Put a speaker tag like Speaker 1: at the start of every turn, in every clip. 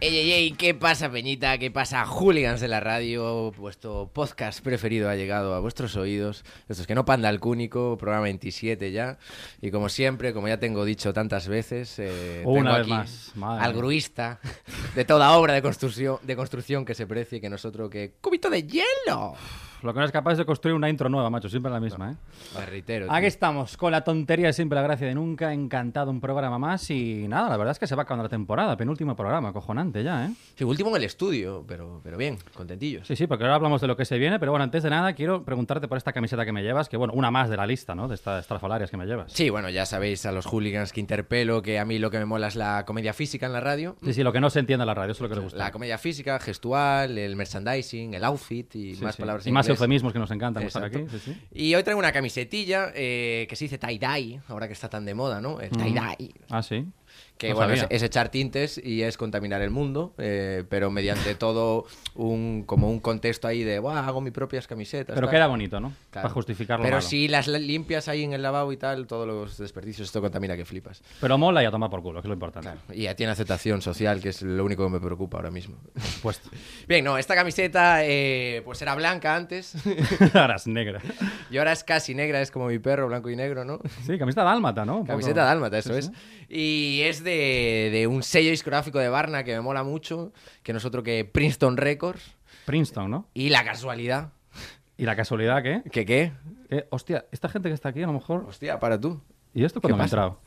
Speaker 1: Ey, ey, ey, ¿qué pasa, Peñita? ¿Qué pasa, Hooligans de la radio? Vuestro podcast preferido ha llegado a vuestros oídos. Esto es que no panda el cúnico, programa 27 ya. Y como siempre, como ya tengo dicho tantas veces, eh, tengo
Speaker 2: Una vez
Speaker 1: aquí
Speaker 2: más, madre
Speaker 1: al
Speaker 2: mía.
Speaker 1: gruista de toda obra de construcción, de construcción que se precie, que nosotros que. ¡Cubito de hielo!
Speaker 2: Lo que no es capaz de construir una intro nueva, macho, siempre la misma, ¿eh?
Speaker 1: Barritero. tío.
Speaker 2: Aquí estamos, con la tontería de siempre, la gracia de nunca, encantado un programa más y nada, la verdad es que se va acabando la temporada, penúltimo programa, cojonante ya, ¿eh?
Speaker 1: Sí, último en el estudio, pero, pero bien, contentillos.
Speaker 2: Sí, sí, porque ahora hablamos de lo que se viene, pero bueno, antes de nada quiero preguntarte por esta camiseta que me llevas, que bueno, una más de la lista, ¿no? De estas estrafalarias que me llevas.
Speaker 1: Sí, bueno, ya sabéis a los hooligans que interpelo que a mí lo que me mola es la comedia física en la radio.
Speaker 2: Sí, sí, lo que no se entiende en la radio, eso es lo que le gusta.
Speaker 1: La comedia física, gestual, el merchandising, el outfit y
Speaker 2: Sí,
Speaker 1: más
Speaker 2: sí.
Speaker 1: palabras
Speaker 2: Y
Speaker 1: en
Speaker 2: más
Speaker 1: inglés.
Speaker 2: eufemismos que nos encantan usar
Speaker 1: Exacto.
Speaker 2: aquí. Sí, sí.
Speaker 1: Y hoy traigo una camisetilla eh, que se dice tie-dye, ahora que está tan de moda, ¿no? El tie-dye.
Speaker 2: Ah, sí.
Speaker 1: Que
Speaker 2: No
Speaker 1: bueno, es,
Speaker 2: sabía.
Speaker 1: es echar tintes y es contaminar el mundo, eh, pero mediante todo un como un contexto ahí de, "Buah, hago mis propias camisetas.
Speaker 2: Pero
Speaker 1: tal".
Speaker 2: queda bonito, ¿no?
Speaker 1: Claro.
Speaker 2: Para justificarlo.
Speaker 1: Pero si las la- limpias ahí en el lavabo y tal, todos los desperdicios, esto contamina que flipas.
Speaker 2: Pero mola y a tomar por culo, que es lo importante.
Speaker 1: Claro. Y ya tiene aceptación social, que es lo único que me preocupa ahora mismo.
Speaker 2: Pues,
Speaker 1: Bien, no, esta camiseta eh, pues era blanca antes
Speaker 2: ahora es negra.
Speaker 1: y ahora es casi negra, es como mi perro, blanco y negro, ¿no?
Speaker 2: Sí, camiseta dálmata, ¿no? Un poco.
Speaker 1: Camiseta dálmata, eso
Speaker 2: Sí,
Speaker 1: es.
Speaker 2: sí.
Speaker 1: Y es de, de un sello discográfico de Barna que me mola mucho, que nosotros que Princeton Records
Speaker 2: Princeton, ¿no?
Speaker 1: y la casualidad.
Speaker 2: Y la casualidad que,
Speaker 1: ¿Que qué?
Speaker 2: que, hostia, esta gente que está aquí a lo mejor...
Speaker 1: Hostia, para tú.
Speaker 2: ¿Y esto cuando me ha
Speaker 1: pasa?
Speaker 2: entrado?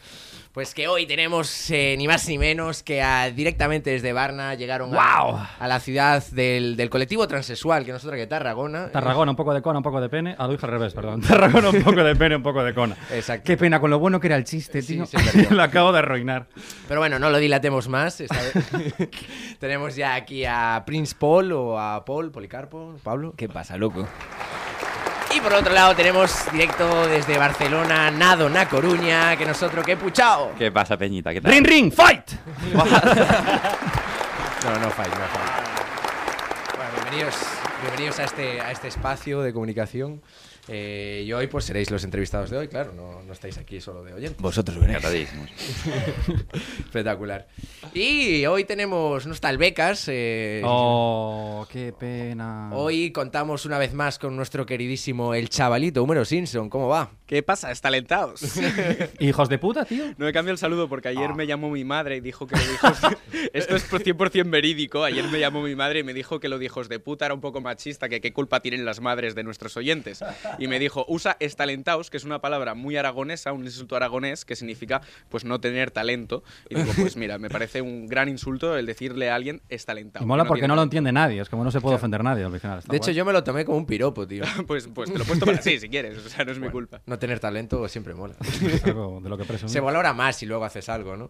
Speaker 1: Pues que hoy tenemos eh, ni más ni menos que a- directamente desde Barna llegaron a-
Speaker 2: ¡Guau!
Speaker 1: a, la ciudad del, del colectivo transexual, que nosotros que Tarragona. eh,
Speaker 2: Tarragona, un poco de cona, un poco de pene. Ah, lo dije al revés, perdón. Tarragona, un poco de pene, un poco de cona.
Speaker 1: Exacto.
Speaker 2: Qué pena, con lo bueno que era el chiste,
Speaker 1: Sí,
Speaker 2: tío.
Speaker 1: se perdió.
Speaker 2: lo acabo de arruinar.
Speaker 1: Pero bueno, no lo dilatemos más. esta vez. Tenemos ya aquí a Prince Paul o a Paul, Policarpo, Pablo. ¿Qué pasa, loco? Y por otro lado tenemos directo desde Barcelona, Nado, Na Coruña, que nosotros, que puchao.
Speaker 3: ¿Qué pasa, Peñita? ¿Qué tal?
Speaker 2: ¡Ring, ring, fight!
Speaker 1: No, no falla, no falla. Bueno, bienvenidos, bienvenidos a, este, a este espacio de comunicación. Eh, y hoy pues seréis los entrevistados de hoy, claro, no, no estáis aquí solo de oyentes.
Speaker 3: Vosotros Encantadísimos.
Speaker 1: Espectacular. Y hoy tenemos, no está el Becas, eh,
Speaker 2: Oh, qué pena.
Speaker 1: Hoy contamos una vez más con nuestro queridísimo el chavalito Homero Simpson. ¿Cómo va?
Speaker 4: ¿Qué pasa? ¿Estalentaos?
Speaker 2: Hijos de puta, tío.
Speaker 4: No me cambio el saludo porque ayer me llamó mi madre y dijo que lo dijo... Esto es por 100% verídico. Ayer me llamó mi madre y me dijo que lo de hijos de puta era un poco machista, que qué culpa tienen las madres de nuestros oyentes. Y me dijo, usa estalentaos, que es una palabra muy aragonesa, un insulto aragonés, que significa pues no tener talento. Y digo, pues mira, me parece un gran insulto el decirle a alguien estalentao.
Speaker 2: Y mola
Speaker 4: que
Speaker 2: porque
Speaker 4: tiene
Speaker 2: no lo
Speaker 4: talento".
Speaker 2: entiende nadie. Es como no se puede ofender nadie al final. Está
Speaker 1: De hecho,
Speaker 2: guay.
Speaker 1: yo me lo tomé como un piropo, tío.
Speaker 4: Pues, pues te lo he puesto para sí, si quieres. O sea, no es mi culpa.
Speaker 1: No tener talento siempre mola.
Speaker 2: Algo de lo que presumí.
Speaker 1: Se valora más si luego haces algo, ¿no?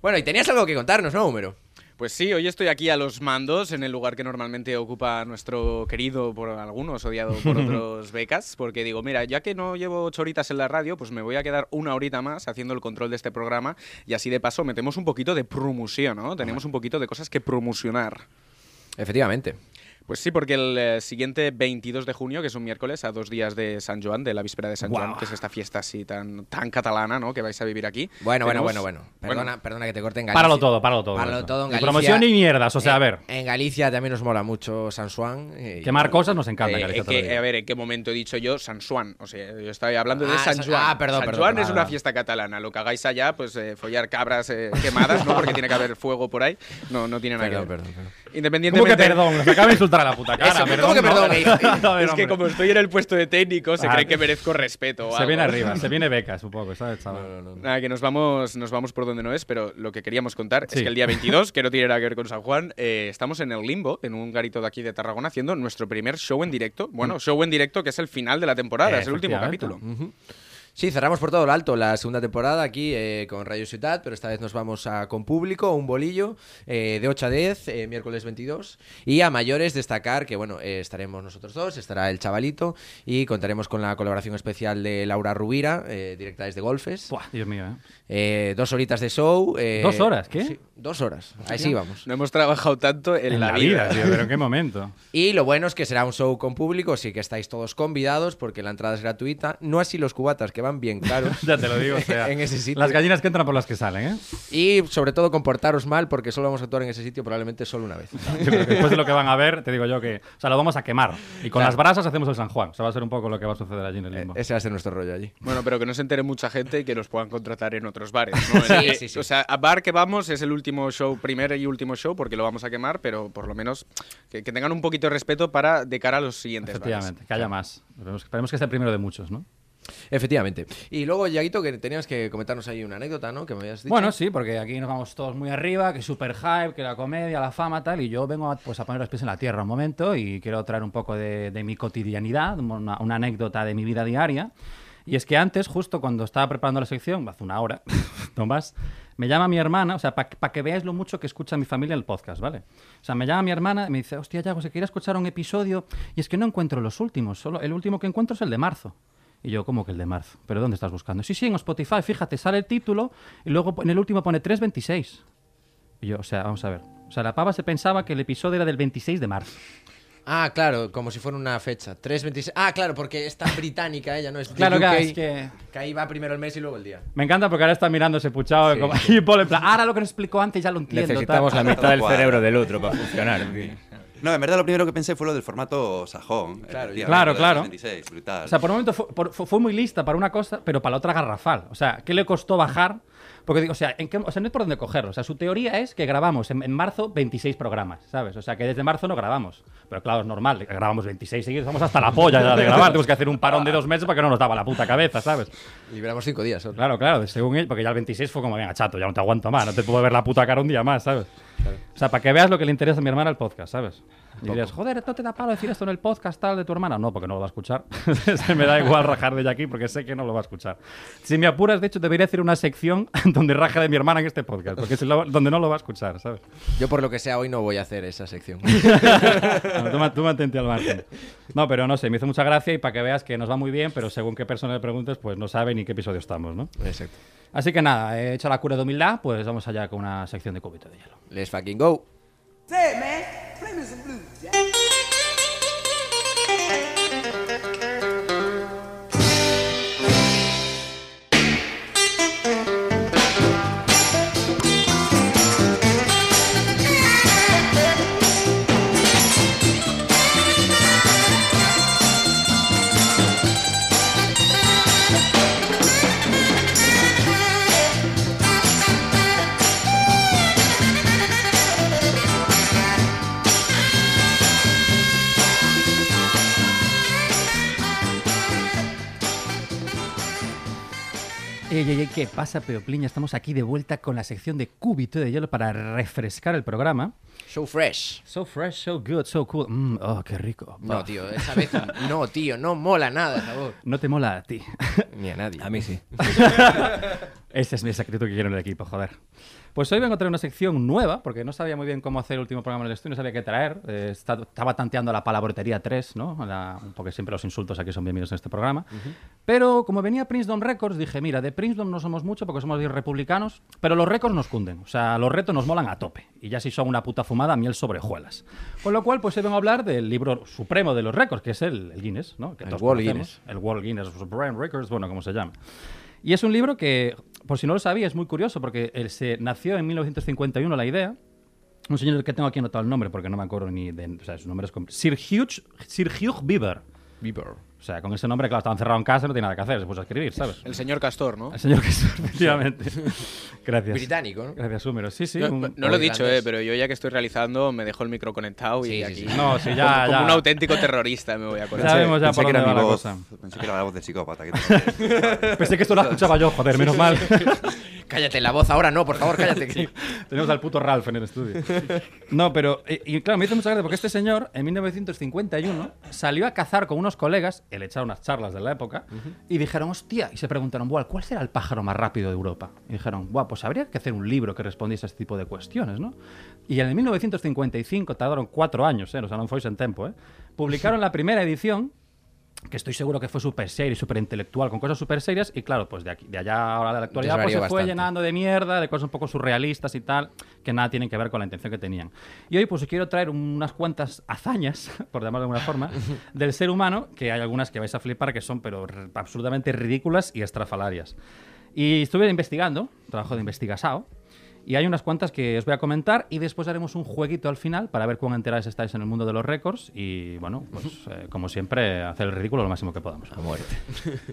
Speaker 1: Bueno, y tenías algo que contarnos, ¿no, Homero?
Speaker 4: Pues sí, hoy estoy aquí a los mandos, en el lugar que normalmente ocupa nuestro querido por algunos, odiado por otros becas, porque digo, mira, ya que no llevo ocho horitas en la radio, pues me voy a quedar una horita más haciendo el control de este programa y así de paso metemos un poquito de promoción, ¿no? Tenemos un poquito de cosas que promocionar.
Speaker 1: Efectivamente.
Speaker 4: Pues sí, porque el eh, siguiente 22 de junio, que es un miércoles, a dos días de San Joan, de la víspera de San
Speaker 1: Guau.
Speaker 4: Joan, que es esta fiesta así tan, tan catalana, ¿no? Que vais a vivir aquí.
Speaker 1: Bueno, bueno,
Speaker 4: tenemos-
Speaker 1: bueno, bueno. Perdona, perdona que te corten Galicia.
Speaker 2: Páralo todo, páralo todo.
Speaker 1: Páralo
Speaker 2: Eso.
Speaker 1: todo en
Speaker 2: Ni
Speaker 1: Galicia.
Speaker 2: promoción ni mierdas, o sea, a
Speaker 1: En-
Speaker 2: ver.
Speaker 1: En Galicia también nos mola mucho San Juan. eh,
Speaker 2: Quemar cosas nos encanta,
Speaker 4: Eh,
Speaker 2: Galicia,
Speaker 4: es
Speaker 2: te lo
Speaker 4: que,
Speaker 2: digo.
Speaker 4: a ver, ¿en qué momento he dicho yo San Juan? O sea, yo estaba hablando de
Speaker 1: Ah,
Speaker 4: San
Speaker 1: San-
Speaker 4: Juan.
Speaker 1: ah, perdón,
Speaker 4: San
Speaker 1: perdón,
Speaker 4: Juan
Speaker 1: perdón,
Speaker 4: es
Speaker 1: nada.
Speaker 4: una fiesta catalana. Lo que hagáis allá, pues eh, follar cabras eh, quemadas, ¿no? Porque tiene que haber fuego por ahí. No, no tiene nada
Speaker 1: Perdón,
Speaker 4: que ver.
Speaker 1: perdón, perdón.
Speaker 2: ¿Cómo
Speaker 4: Independientemente...
Speaker 2: que perdón? Nos acaba de insultar a la puta cara.
Speaker 1: Eso, ¿cómo
Speaker 2: perdón,
Speaker 1: que perdón, eh?
Speaker 2: ¿no? A ver,
Speaker 4: Es que
Speaker 2: hombre.
Speaker 4: como estoy en el puesto de técnico, se
Speaker 2: Ah.
Speaker 4: cree que merezco respeto. o
Speaker 2: Se
Speaker 4: algo.
Speaker 2: viene arriba, se viene becas un poco, ¿sabes, chaval?
Speaker 4: Nada, que nos vamos, nos vamos por donde no es, pero lo que queríamos contar
Speaker 2: Sí.
Speaker 4: es que el día 22, que no tiene nada que ver con San Juan, eh, estamos en el limbo, en un garito de aquí de Tarragona, haciendo nuestro primer show en directo. Bueno, show en directo que es el final de la temporada, es el último
Speaker 2: Efectivamente.
Speaker 4: capítulo.
Speaker 1: Sí, cerramos por todo lo alto la segunda temporada aquí eh, con Radio Ciudad, pero esta vez nos vamos a, con público, un bolillo eh, de 8 a 10, eh, miércoles 22. Y a mayores destacar que, bueno, eh, estaremos nosotros dos, estará el chavalito y contaremos con la colaboración especial de Laura Rubira, eh, directa desde Golfes.
Speaker 2: Buah, Dios mío, ¿eh?
Speaker 1: Eh, dos horitas de show. eh,
Speaker 2: ¿Dos horas? ¿Qué? Ah,
Speaker 1: sí, dos horas. Ahí sí vamos.
Speaker 4: No hemos trabajado tanto en, la, vida.
Speaker 2: tío, pero en qué momento.
Speaker 1: Y lo bueno es que será un show con público, así que estáis todos convidados porque la entrada es gratuita. No así los cubatas, que van bien caros.
Speaker 2: Ya te lo digo, o sea,
Speaker 1: En ese sitio.
Speaker 2: las gallinas que entran por las que salen, ¿eh?
Speaker 1: Y sobre todo comportaros mal porque solo vamos a actuar en ese sitio probablemente solo una vez.
Speaker 2: Yo creo que después de lo que van a ver, te digo yo que, o sea, lo vamos a quemar y con las brasas hacemos el San Juan. O sea, va a ser un poco lo que va a suceder allí en el limbo.
Speaker 1: E-, Ese va a ser nuestro rollo allí.
Speaker 4: Bueno, pero que no se entere mucha gente y que nos puedan contratar en otros bares. ¿no?
Speaker 1: Sí,
Speaker 4: Eh,
Speaker 1: sí, sí.
Speaker 4: O sea, a bar que vamos es el último show, primer y último show, porque lo vamos a quemar, pero por lo menos que, que tengan un poquito de respeto para de cara a los siguientes bares.
Speaker 2: Efectivamente, que haya más. Esperemos, esperemos que sea el primero de muchos, ¿no?
Speaker 1: Efectivamente. Y luego, Yaguito, que tenías que comentarnos ahí una anécdota, ¿no? Que me habías dicho.
Speaker 2: Bueno, sí, porque aquí nos vamos todos muy arriba, que super hype, que la comedia, la fama, tal, y yo vengo a, pues, a poner los pies en la tierra un momento y quiero traer un poco de, de mi cotidianidad, una, una anécdota de mi vida diaria. Y es que antes, justo cuando estaba preparando la sección, hace una hora, Tomás, me llama mi hermana, o sea, para que veáis lo mucho que escucha mi familia el podcast, ¿vale? O sea, me llama mi hermana y me dice, hostia, Yago, se quería escuchar un episodio y es que no encuentro los últimos, solo el último que encuentro es el de marzo. Y yo, ¿cómo que el de marzo? ¿Pero dónde estás buscando? Sí, sí, en Spotify, fíjate, sale el título y luego en el último pone 326. Y yo, o sea, vamos a ver. O sea, la pava se pensaba que el episodio era del 26 de marzo.
Speaker 1: Ah, claro, como si fuera una fecha. 3.26. Ah, claro, porque es tan británica ella, ¿no? Es de
Speaker 2: Claro, claro,
Speaker 1: UK,
Speaker 2: es que-
Speaker 1: Que ahí va primero el mes y luego el día.
Speaker 2: Me encanta porque ahora está mirando ese puchado
Speaker 1: Sí,
Speaker 2: como- y Paul en plan, ahora lo que nos explicó antes ya lo entiendo.
Speaker 5: Necesitamos
Speaker 2: tal".
Speaker 5: la mitad del
Speaker 3: Cuadra.
Speaker 5: cerebro del otro para funcionar.
Speaker 3: No, en verdad lo primero que pensé fue lo del formato sajón.
Speaker 1: Claro,
Speaker 3: efectivamente,
Speaker 2: claro,
Speaker 3: lo del
Speaker 2: claro.
Speaker 3: 66, brutal.
Speaker 2: O sea, por un momento fue, por- fue- fue muy lista para una cosa, pero para la otra garrafal. O sea, ¿qué le costó bajar? Porque digo, o sea, ¿en qué- o sea, no es por dónde cogerlo. O sea, su teoría es que grabamos en, en marzo 26 programas, ¿sabes? O sea, que desde marzo no grabamos. Pero claro, es normal, grabamos 26 seguidos, estamos hasta la polla ya de grabar. Tenemos que hacer un parón de dos meses para que no nos daba la puta cabeza, ¿sabes?
Speaker 1: Liberamos cinco días. solo.
Speaker 2: Claro, claro, según él, porque ya el 26 fue como, venga, chato, ya no te aguanto más, no te puedo ver la puta cara un día más, ¿sabes? O sea, para que veas lo que le interesa a mi hermana el podcast, ¿sabes? Y dirías, joder, ¿no te da palo decir esto en el podcast tal de tu hermana? No, porque no lo va a escuchar. Se me da igual rajar de ella aquí porque sé que no lo va a escuchar. Si me apuras, de hecho, debería hacer una sección donde raja de mi hermana en este podcast, porque es lo- donde no lo va a escuchar, ¿sabes?
Speaker 1: Yo, por lo que sea, hoy no voy a hacer esa sección.
Speaker 2: Bueno, tú, ma- tú mantente al margen. No, pero no sé, me hizo mucha gracia y para que veas que nos va muy bien, pero según qué persona le preguntes, pues no sabe ni qué episodio estamos, ¿no?
Speaker 1: Exacto.
Speaker 2: Así que nada, he hecho la cura de humildad, pues vamos allá con una sección de cubito de hielo.
Speaker 1: Let's fucking go.
Speaker 2: Ey, ey, ey, ¿qué pasa, Peopliña? Estamos aquí de vuelta con la sección de cúbito de hielo para refrescar el programa.
Speaker 1: Show fresh.
Speaker 2: So fresh, so good, so cool. Mm, oh, qué rico.
Speaker 1: No, tío, esa vez no, tío, no mola nada, sabor.
Speaker 2: No te mola a ti.
Speaker 1: Ni a nadie.
Speaker 5: A mí sí.
Speaker 2: Ese es mi actitud que quiero en el equipo, joder. Pues hoy vengo a traer una sección nueva, porque no sabía muy bien cómo hacer el último programa en el estudio, no sabía qué traer. Eh, esta- estaba tanteando la palabrotería 3, ¿no? La- porque siempre los insultos aquí son bienvenidos en este programa. Pero como venía Princeton Records, dije, mira, de Princeton no somos mucho porque somos bien republicanos, pero los récords nos cunden. O sea, los retos nos molan a tope. Y ya si son una puta fumada, miel sobre hojuelas. Con lo cual, pues hoy vengo a hablar del libro supremo de los récords, que es el, el Guinness, ¿no? Que
Speaker 1: El
Speaker 2: todos
Speaker 1: World
Speaker 2: conocemos.
Speaker 1: Guinness.
Speaker 2: El World Guinness, Supreme Records, bueno, como se llama. Y es un libro que, por si no lo sabía, es muy curioso porque él se nació en 1951 la idea. Un señor que tengo aquí anotado el nombre porque no me acuerdo ni de. O sea, su nombre es. com- Sir Hugh, Sir Hugh Bieber.
Speaker 1: Bieber.
Speaker 2: O sea, con ese nombre, claro, estaba encerrado en casa, no tenía nada que hacer, se puso a escribir, ¿sabes?
Speaker 4: El señor Castor, ¿no?
Speaker 2: El señor que es, efectivamente. Gracias.
Speaker 1: Británico, ¿no?
Speaker 2: Gracias, Húmero. Sí, sí.
Speaker 4: Yo-
Speaker 2: un-
Speaker 4: no lo he
Speaker 1: o
Speaker 4: dicho,
Speaker 1: irlandés.
Speaker 4: eh, pero yo ya que estoy realizando me dejo el micro conectado
Speaker 1: Sí,
Speaker 4: y
Speaker 1: sí,
Speaker 4: aquí.
Speaker 1: sí.
Speaker 2: No, sí,
Speaker 4: como,
Speaker 2: ya,
Speaker 4: como
Speaker 2: ya.
Speaker 4: un auténtico terrorista me voy a
Speaker 2: Ya
Speaker 4: conectar.
Speaker 2: sabemos ya
Speaker 3: pensé
Speaker 2: por
Speaker 3: que
Speaker 2: dónde
Speaker 3: era
Speaker 2: va
Speaker 3: mi
Speaker 2: la
Speaker 3: voz.
Speaker 2: cosa.
Speaker 3: Pensé que era la voz de psicópata. que tengo.
Speaker 2: Pensé que esto lo escuchaba yo, joder, menos mal.
Speaker 1: Cállate, la voz ahora no, por favor, cállate. que-
Speaker 2: Tenemos al puto Ralph en el estudio. No, pero. eh, Y, y claro, me hizo mucha gracia porque este señor, en 1951, salió a cazar con unos colegas, él echaba unas charlas de la época, y dijeron, hostia, y se preguntaron, Buah, ¿cuál será el pájaro más rápido de Europa? Y dijeron, Buah, pues habría que hacer un libro que respondiese a este tipo de cuestiones, ¿no? Y en el 1955, tardaron cuatro años, ¿eh? Los Alonfois en Tempo, ¿eh? Publicaron la primera edición que estoy seguro que fue súper serio y súper intelectual, con cosas súper serias, y claro, pues de aquí, de allá ahora de la actualidad, pues
Speaker 1: Desvarió
Speaker 2: se fue
Speaker 1: bastante.
Speaker 2: llenando de mierda, de cosas un poco surrealistas y tal, que nada tienen que ver con la intención que tenían. Y hoy pues os quiero traer unas cuantas hazañas, por llamarlo de alguna forma, del ser humano, que hay algunas que vais a flipar que son pero r- absolutamente ridículas y estrafalarias. Y estuve investigando, trabajo de investigasao, y hay unas cuantas que os voy a comentar y después haremos un jueguito al final para ver cuán enterados estáis en el mundo de los récords y, bueno, pues eh, como siempre, hacer el ridículo lo máximo que podamos.
Speaker 1: A muerte.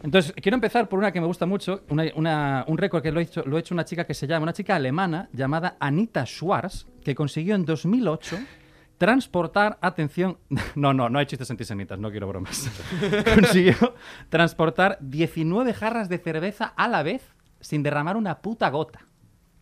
Speaker 2: Entonces, quiero empezar por una que me gusta mucho, una- una- un récord que lo ha hecho, lo ha hecho una chica que se llama, una chica alemana llamada Anita Schwarz, que consiguió en 2008 transportar, atención, no, no, no hay chistes antisemitas, no quiero bromas. consiguió transportar 19 jarras de cerveza a la vez sin derramar una puta gota.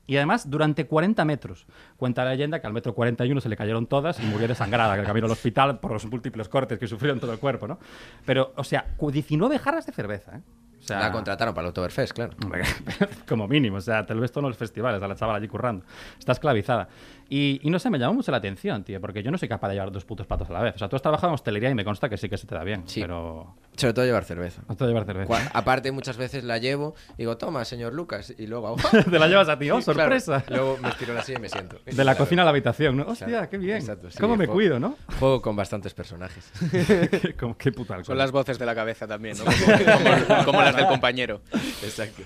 Speaker 2: Y además durante 40 metros. Cuenta la leyenda que al metro 41 se le cayeron todas y murió desangrada en el camino al hospital por los múltiples cortes que sufrió en todo el cuerpo, ¿no? Pero, o sea, cu- 19 jarras de cerveza, ¿eh? O sea,
Speaker 1: La contrataron para el Oktoberfest, claro.
Speaker 2: Hombre, Como mínimo, o sea, te lo ves todo en los festivales, a la chavala allí currando. Está esclavizada. Y, y no sé, me llamó mucho la atención, tío, porque yo no soy capaz de llevar dos putos platos a la vez. O sea, tú has trabajado en hostelería y me consta que sí que se te da bien,
Speaker 1: Sí.
Speaker 2: pero
Speaker 1: Sobre todo llevar cerveza.
Speaker 2: no te llevar cerveza.
Speaker 1: Cua- Aparte, muchas veces la llevo y digo, toma, señor Lucas, y luego...
Speaker 2: te la llevas a ti, oh,
Speaker 1: Claro,
Speaker 2: sorpresa.
Speaker 1: Luego me estiro en la silla y me siento.
Speaker 2: De la
Speaker 1: Claro,
Speaker 2: cocina a la habitación, ¿no? Hostia,
Speaker 1: claro.
Speaker 2: qué bien.
Speaker 1: Exacto, sí,
Speaker 2: ¿Cómo me
Speaker 1: juego-
Speaker 2: cuido, no?
Speaker 1: Juego con bastantes personajes.
Speaker 2: Como- qué puta alcohol.
Speaker 4: Son las voces de la cabeza también, ¿no? Como, como- como las del compañero.
Speaker 1: Exacto.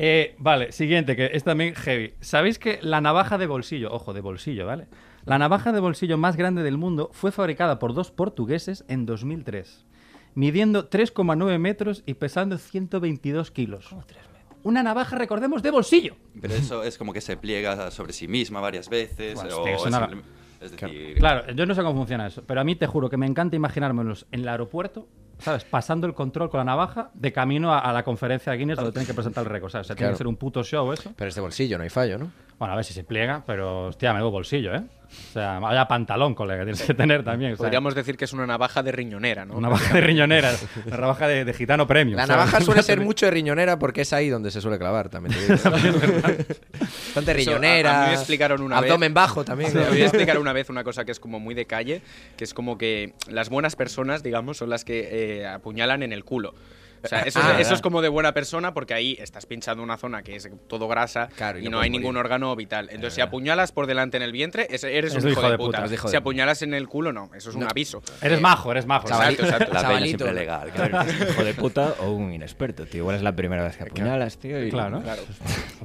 Speaker 2: Eh, vale, siguiente, que es también heavy. ¿Sabéis que la navaja de bolsillo, ojo, de bolsillo, ¿vale? La navaja de bolsillo más grande del mundo fue fabricada por dos portugueses en 2003, midiendo 3,9 metros y pesando 122 kilos. Una navaja, recordemos, de bolsillo.
Speaker 3: Pero eso es como que se pliega sobre sí misma varias veces.
Speaker 2: Buah,
Speaker 3: o
Speaker 2: hostia, eso
Speaker 3: es,
Speaker 2: nada.
Speaker 3: simple- es decir,
Speaker 2: Claro, yo no sé cómo funciona eso, pero a mí te juro que me encanta imaginármelos en el aeropuerto, ¿sabes? Pasando el control con la navaja de camino a, a la conferencia de Guinness donde tienen que presentar el récord, ¿sabes? O sea, tiene
Speaker 1: Claro.
Speaker 2: que ser un puto show eso.
Speaker 1: Pero es de bolsillo, no hay fallo, ¿no?
Speaker 2: Bueno, a ver si se pliega, pero hostia, me veo bolsillo, ¿eh? O sea, vaya pantalón, colega, tienes que tener también. o sea,
Speaker 4: Podríamos decir que es una navaja de riñonera, ¿no?
Speaker 2: una navaja de riñonera, una navaja de, de gitano premium.
Speaker 1: La
Speaker 2: ¿sabes?
Speaker 1: navaja suele ser mucho de riñonera porque es ahí donde se suele clavar, también te digo. Bastante
Speaker 4: Eso, a-
Speaker 1: riñonera.
Speaker 4: a mí me explicaron una vez.
Speaker 1: Abdomen bajo también.
Speaker 4: Te voy a explicar una vez una cosa que es como muy de calle, que es como que las buenas personas, digamos, son las que eh, apuñalan en el culo. O sea, eso,
Speaker 1: Ah,
Speaker 4: es, eso
Speaker 1: ¿verdad?
Speaker 4: es como de buena persona porque ahí estás pinchando una zona que es todo grasa
Speaker 1: Claro, y
Speaker 4: y, no,
Speaker 1: no
Speaker 4: hay
Speaker 1: puedes
Speaker 4: ningún
Speaker 1: morir.
Speaker 4: órgano vital. Entonces, si apuñalas por delante en el vientre, ese- eres un hijo, de puta.
Speaker 2: eres
Speaker 1: hijo de
Speaker 4: Si
Speaker 1: puta.
Speaker 4: apuñalas en el culo, no. Eso es un aviso.
Speaker 2: Eres majo, eres majo.
Speaker 1: Chaval.
Speaker 4: Exacto, exacto.
Speaker 1: La-
Speaker 3: la peña
Speaker 1: Chavalito.
Speaker 3: siempre legal. claro.
Speaker 5: Hijo de puta o un inexperto, tío. Igual es la primera vez que apuñalas, tío. y-
Speaker 2: Claro.
Speaker 4: Claro.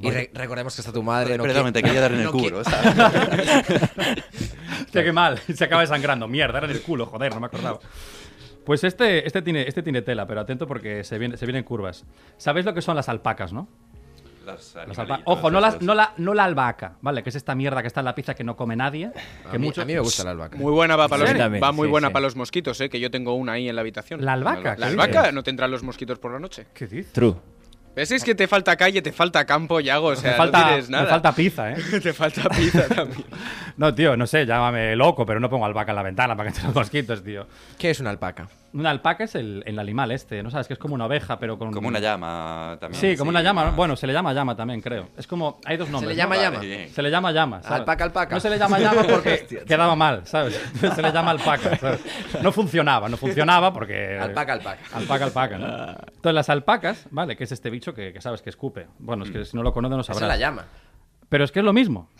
Speaker 1: Y re- recordemos que está tu madre. No
Speaker 3: Perdón,
Speaker 1: quiere-
Speaker 3: te quería dar en el
Speaker 1: no quiere-
Speaker 3: culo. ¿sabes?
Speaker 2: Hostia, qué mal. Se acaba desangrando. Mierda, era en el culo, joder, no me acordaba. Pues este, este, tiene, este tiene tela, pero atento porque se, viene, se vienen curvas. ¿Sabéis lo que son las alpacas, no?
Speaker 3: Los
Speaker 2: Las
Speaker 3: animalitos,
Speaker 2: alpa- Ojo, no, las,
Speaker 3: estos.
Speaker 2: no, la, no la albahaca, ¿vale? Que es esta mierda que está en la pizza que no come nadie.
Speaker 1: A
Speaker 2: Que
Speaker 1: mí,
Speaker 2: mucho-
Speaker 1: a mí me gusta la albahaca.
Speaker 4: Muy buena va para
Speaker 5: Sí,
Speaker 4: los,
Speaker 5: también,
Speaker 4: va muy
Speaker 5: sí,
Speaker 4: buena
Speaker 5: sí.
Speaker 4: para los mosquitos, eh, que yo tengo una ahí en la habitación.
Speaker 2: La albahaca,
Speaker 4: La
Speaker 2: ¿qué
Speaker 4: albahaca
Speaker 2: dices?
Speaker 4: no tendrá los mosquitos por la noche.
Speaker 2: ¿Qué dices?
Speaker 5: True.
Speaker 4: ¿Ves? Es que te falta calle, te falta campo, Yago. O sea,
Speaker 2: me, falta,
Speaker 4: no tienes
Speaker 2: me
Speaker 4: nada.
Speaker 2: falta pizza, ¿eh?
Speaker 4: te falta pizza también.
Speaker 2: No, tío, no sé, llámame loco, pero no pongo albahaca en la ventana para que entren los mosquitos, tío.
Speaker 1: ¿Qué es una alpaca?
Speaker 2: Una alpaca es el, el animal este, ¿no sabes? Que es como una oveja, pero con...
Speaker 3: Como una llama también.
Speaker 2: Sí, como una llama. ¿no? Bueno, se le llama llama también, creo. Es como... Hay dos nombres.
Speaker 1: le
Speaker 2: ¿no?
Speaker 1: llama
Speaker 3: Vale,
Speaker 1: llama.
Speaker 3: bien.
Speaker 2: Se le llama llama. ¿sabes?
Speaker 1: Alpaca, alpaca.
Speaker 2: No se le llama llama porque quedaba mal, ¿sabes? Se le llama alpaca, ¿sabes? No funcionaba, no funcionaba porque...
Speaker 1: Alpaca, alpaca.
Speaker 2: Alpaca, alpaca, ¿no? Entonces las alpacas, ¿vale? Que es este bicho que, que sabes que escupe. Bueno, es que si no lo conoces no
Speaker 1: Mm. Esa
Speaker 2: sabrás.
Speaker 1: es la llama.
Speaker 2: Pero es que es lo mismo.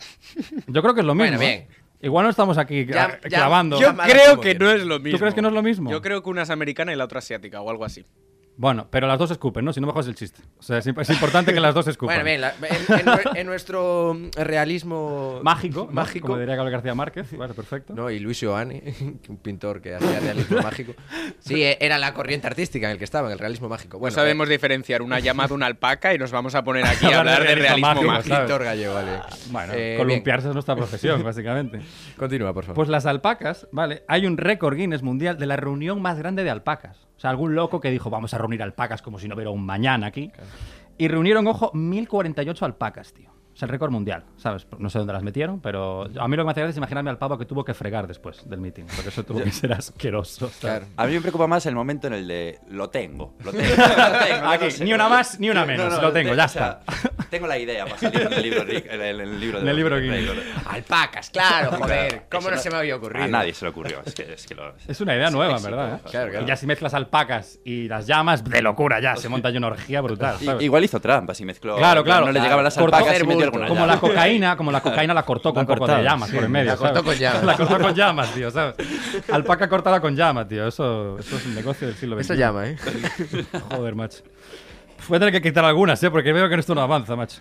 Speaker 2: Yo creo que es lo
Speaker 1: Bueno,
Speaker 2: mismo.
Speaker 1: bien.
Speaker 2: ¿eh? Igual no estamos aquí
Speaker 1: Ya-
Speaker 2: ah,
Speaker 1: ya-
Speaker 2: clavando.
Speaker 4: Yo
Speaker 1: Llámala
Speaker 4: creo
Speaker 1: como
Speaker 4: que no
Speaker 1: quieras.
Speaker 4: es lo mismo.
Speaker 2: crees que no es lo mismo?
Speaker 4: Yo creo que una es americana y la otra asiática o algo así.
Speaker 2: Bueno, pero las dos escupen, ¿no? Si no me jodas el chiste. O sea, es, imp- es importante que las dos
Speaker 1: Bueno,
Speaker 2: escupan.
Speaker 1: bien, la- en, en nue- en nuestro mm, realismo
Speaker 2: Mágico, ¿no?
Speaker 1: mágico.
Speaker 2: Como diría Gabriel García Márquez. Vale, perfecto.
Speaker 1: ¿no? Y Luis Giovanni, un pintor que hacía realismo mágico. Sí, eh, era la corriente artística en el que estaba, en el realismo mágico. Bueno,
Speaker 4: no Pues sabemos
Speaker 1: eh,
Speaker 4: diferenciar una llama de una alpaca y nos vamos a poner aquí a hablar de realismo
Speaker 2: mágico.
Speaker 4: mágico.
Speaker 2: ¿sabes?
Speaker 1: pintor gallego, vale.
Speaker 2: Bueno,
Speaker 1: Eh,
Speaker 2: columpiarse es nuestra profesión, básicamente.
Speaker 1: bien, Continúa, por favor.
Speaker 2: Pues las alpacas, ¿vale? Hay un récord Guinness mundial de la reunión más grande de alpacas. O sea, algún loco que dijo, vamos a reunir alpacas como si no hubiera un mañana aquí. Y reunieron, ojo, 1048 alpacas, tío. Es el récord mundial, ¿sabes? No sé dónde las metieron, pero a mí lo que me hace gracia es imaginarme al pavo que tuvo que fregar después del meeting, porque eso tuvo que ser asqueroso. ¿sabes?
Speaker 1: Claro.
Speaker 3: A mí me preocupa más el momento en el de lo tengo, lo tengo, lo tengo,
Speaker 2: Aquí,
Speaker 3: no sé.
Speaker 2: ni una más, ni una menos, lo tengo, ya
Speaker 3: o sea, tengo la idea para salir en el libro Rick, en el, en el libro de
Speaker 2: En el libro
Speaker 3: de-
Speaker 2: Guinness.
Speaker 3: de- de-
Speaker 1: Alpacas, claro, joder. ¿Cómo no se me había ocurrido?
Speaker 3: A nadie se le ocurrió, es que, es que lo...
Speaker 2: Es una idea nueva, en ¿verdad? ¿eh?
Speaker 1: Claro, claro.
Speaker 2: Y ya si mezclas alpacas y las llamas, de locura ya, se monta ahí una orgía brutal.
Speaker 3: I-
Speaker 2: ¿sabes?
Speaker 3: Igual hizo trampas y mezcló.
Speaker 2: Claro, claro.
Speaker 3: No le llegaban las
Speaker 2: Cortó-
Speaker 3: alpacas y metió alguna
Speaker 2: como
Speaker 3: llave.
Speaker 2: la cocaína, como la cocaína la cortó con
Speaker 5: La
Speaker 2: un poco de
Speaker 5: cortaron,
Speaker 2: llamas
Speaker 5: sí.
Speaker 2: por en medio.
Speaker 1: La cortó
Speaker 2: ¿sabes?
Speaker 1: con llamas.
Speaker 2: La cortó con llamas, tío, ¿sabes? Alpaca cortada con llamas, tío. Eso, eso es un negocio del siglo XXI.
Speaker 1: Eso llama, ¿eh?
Speaker 2: Joder, macho. Voy a tener que quitar algunas, ¿eh? Porque veo que esto no avanza, macho.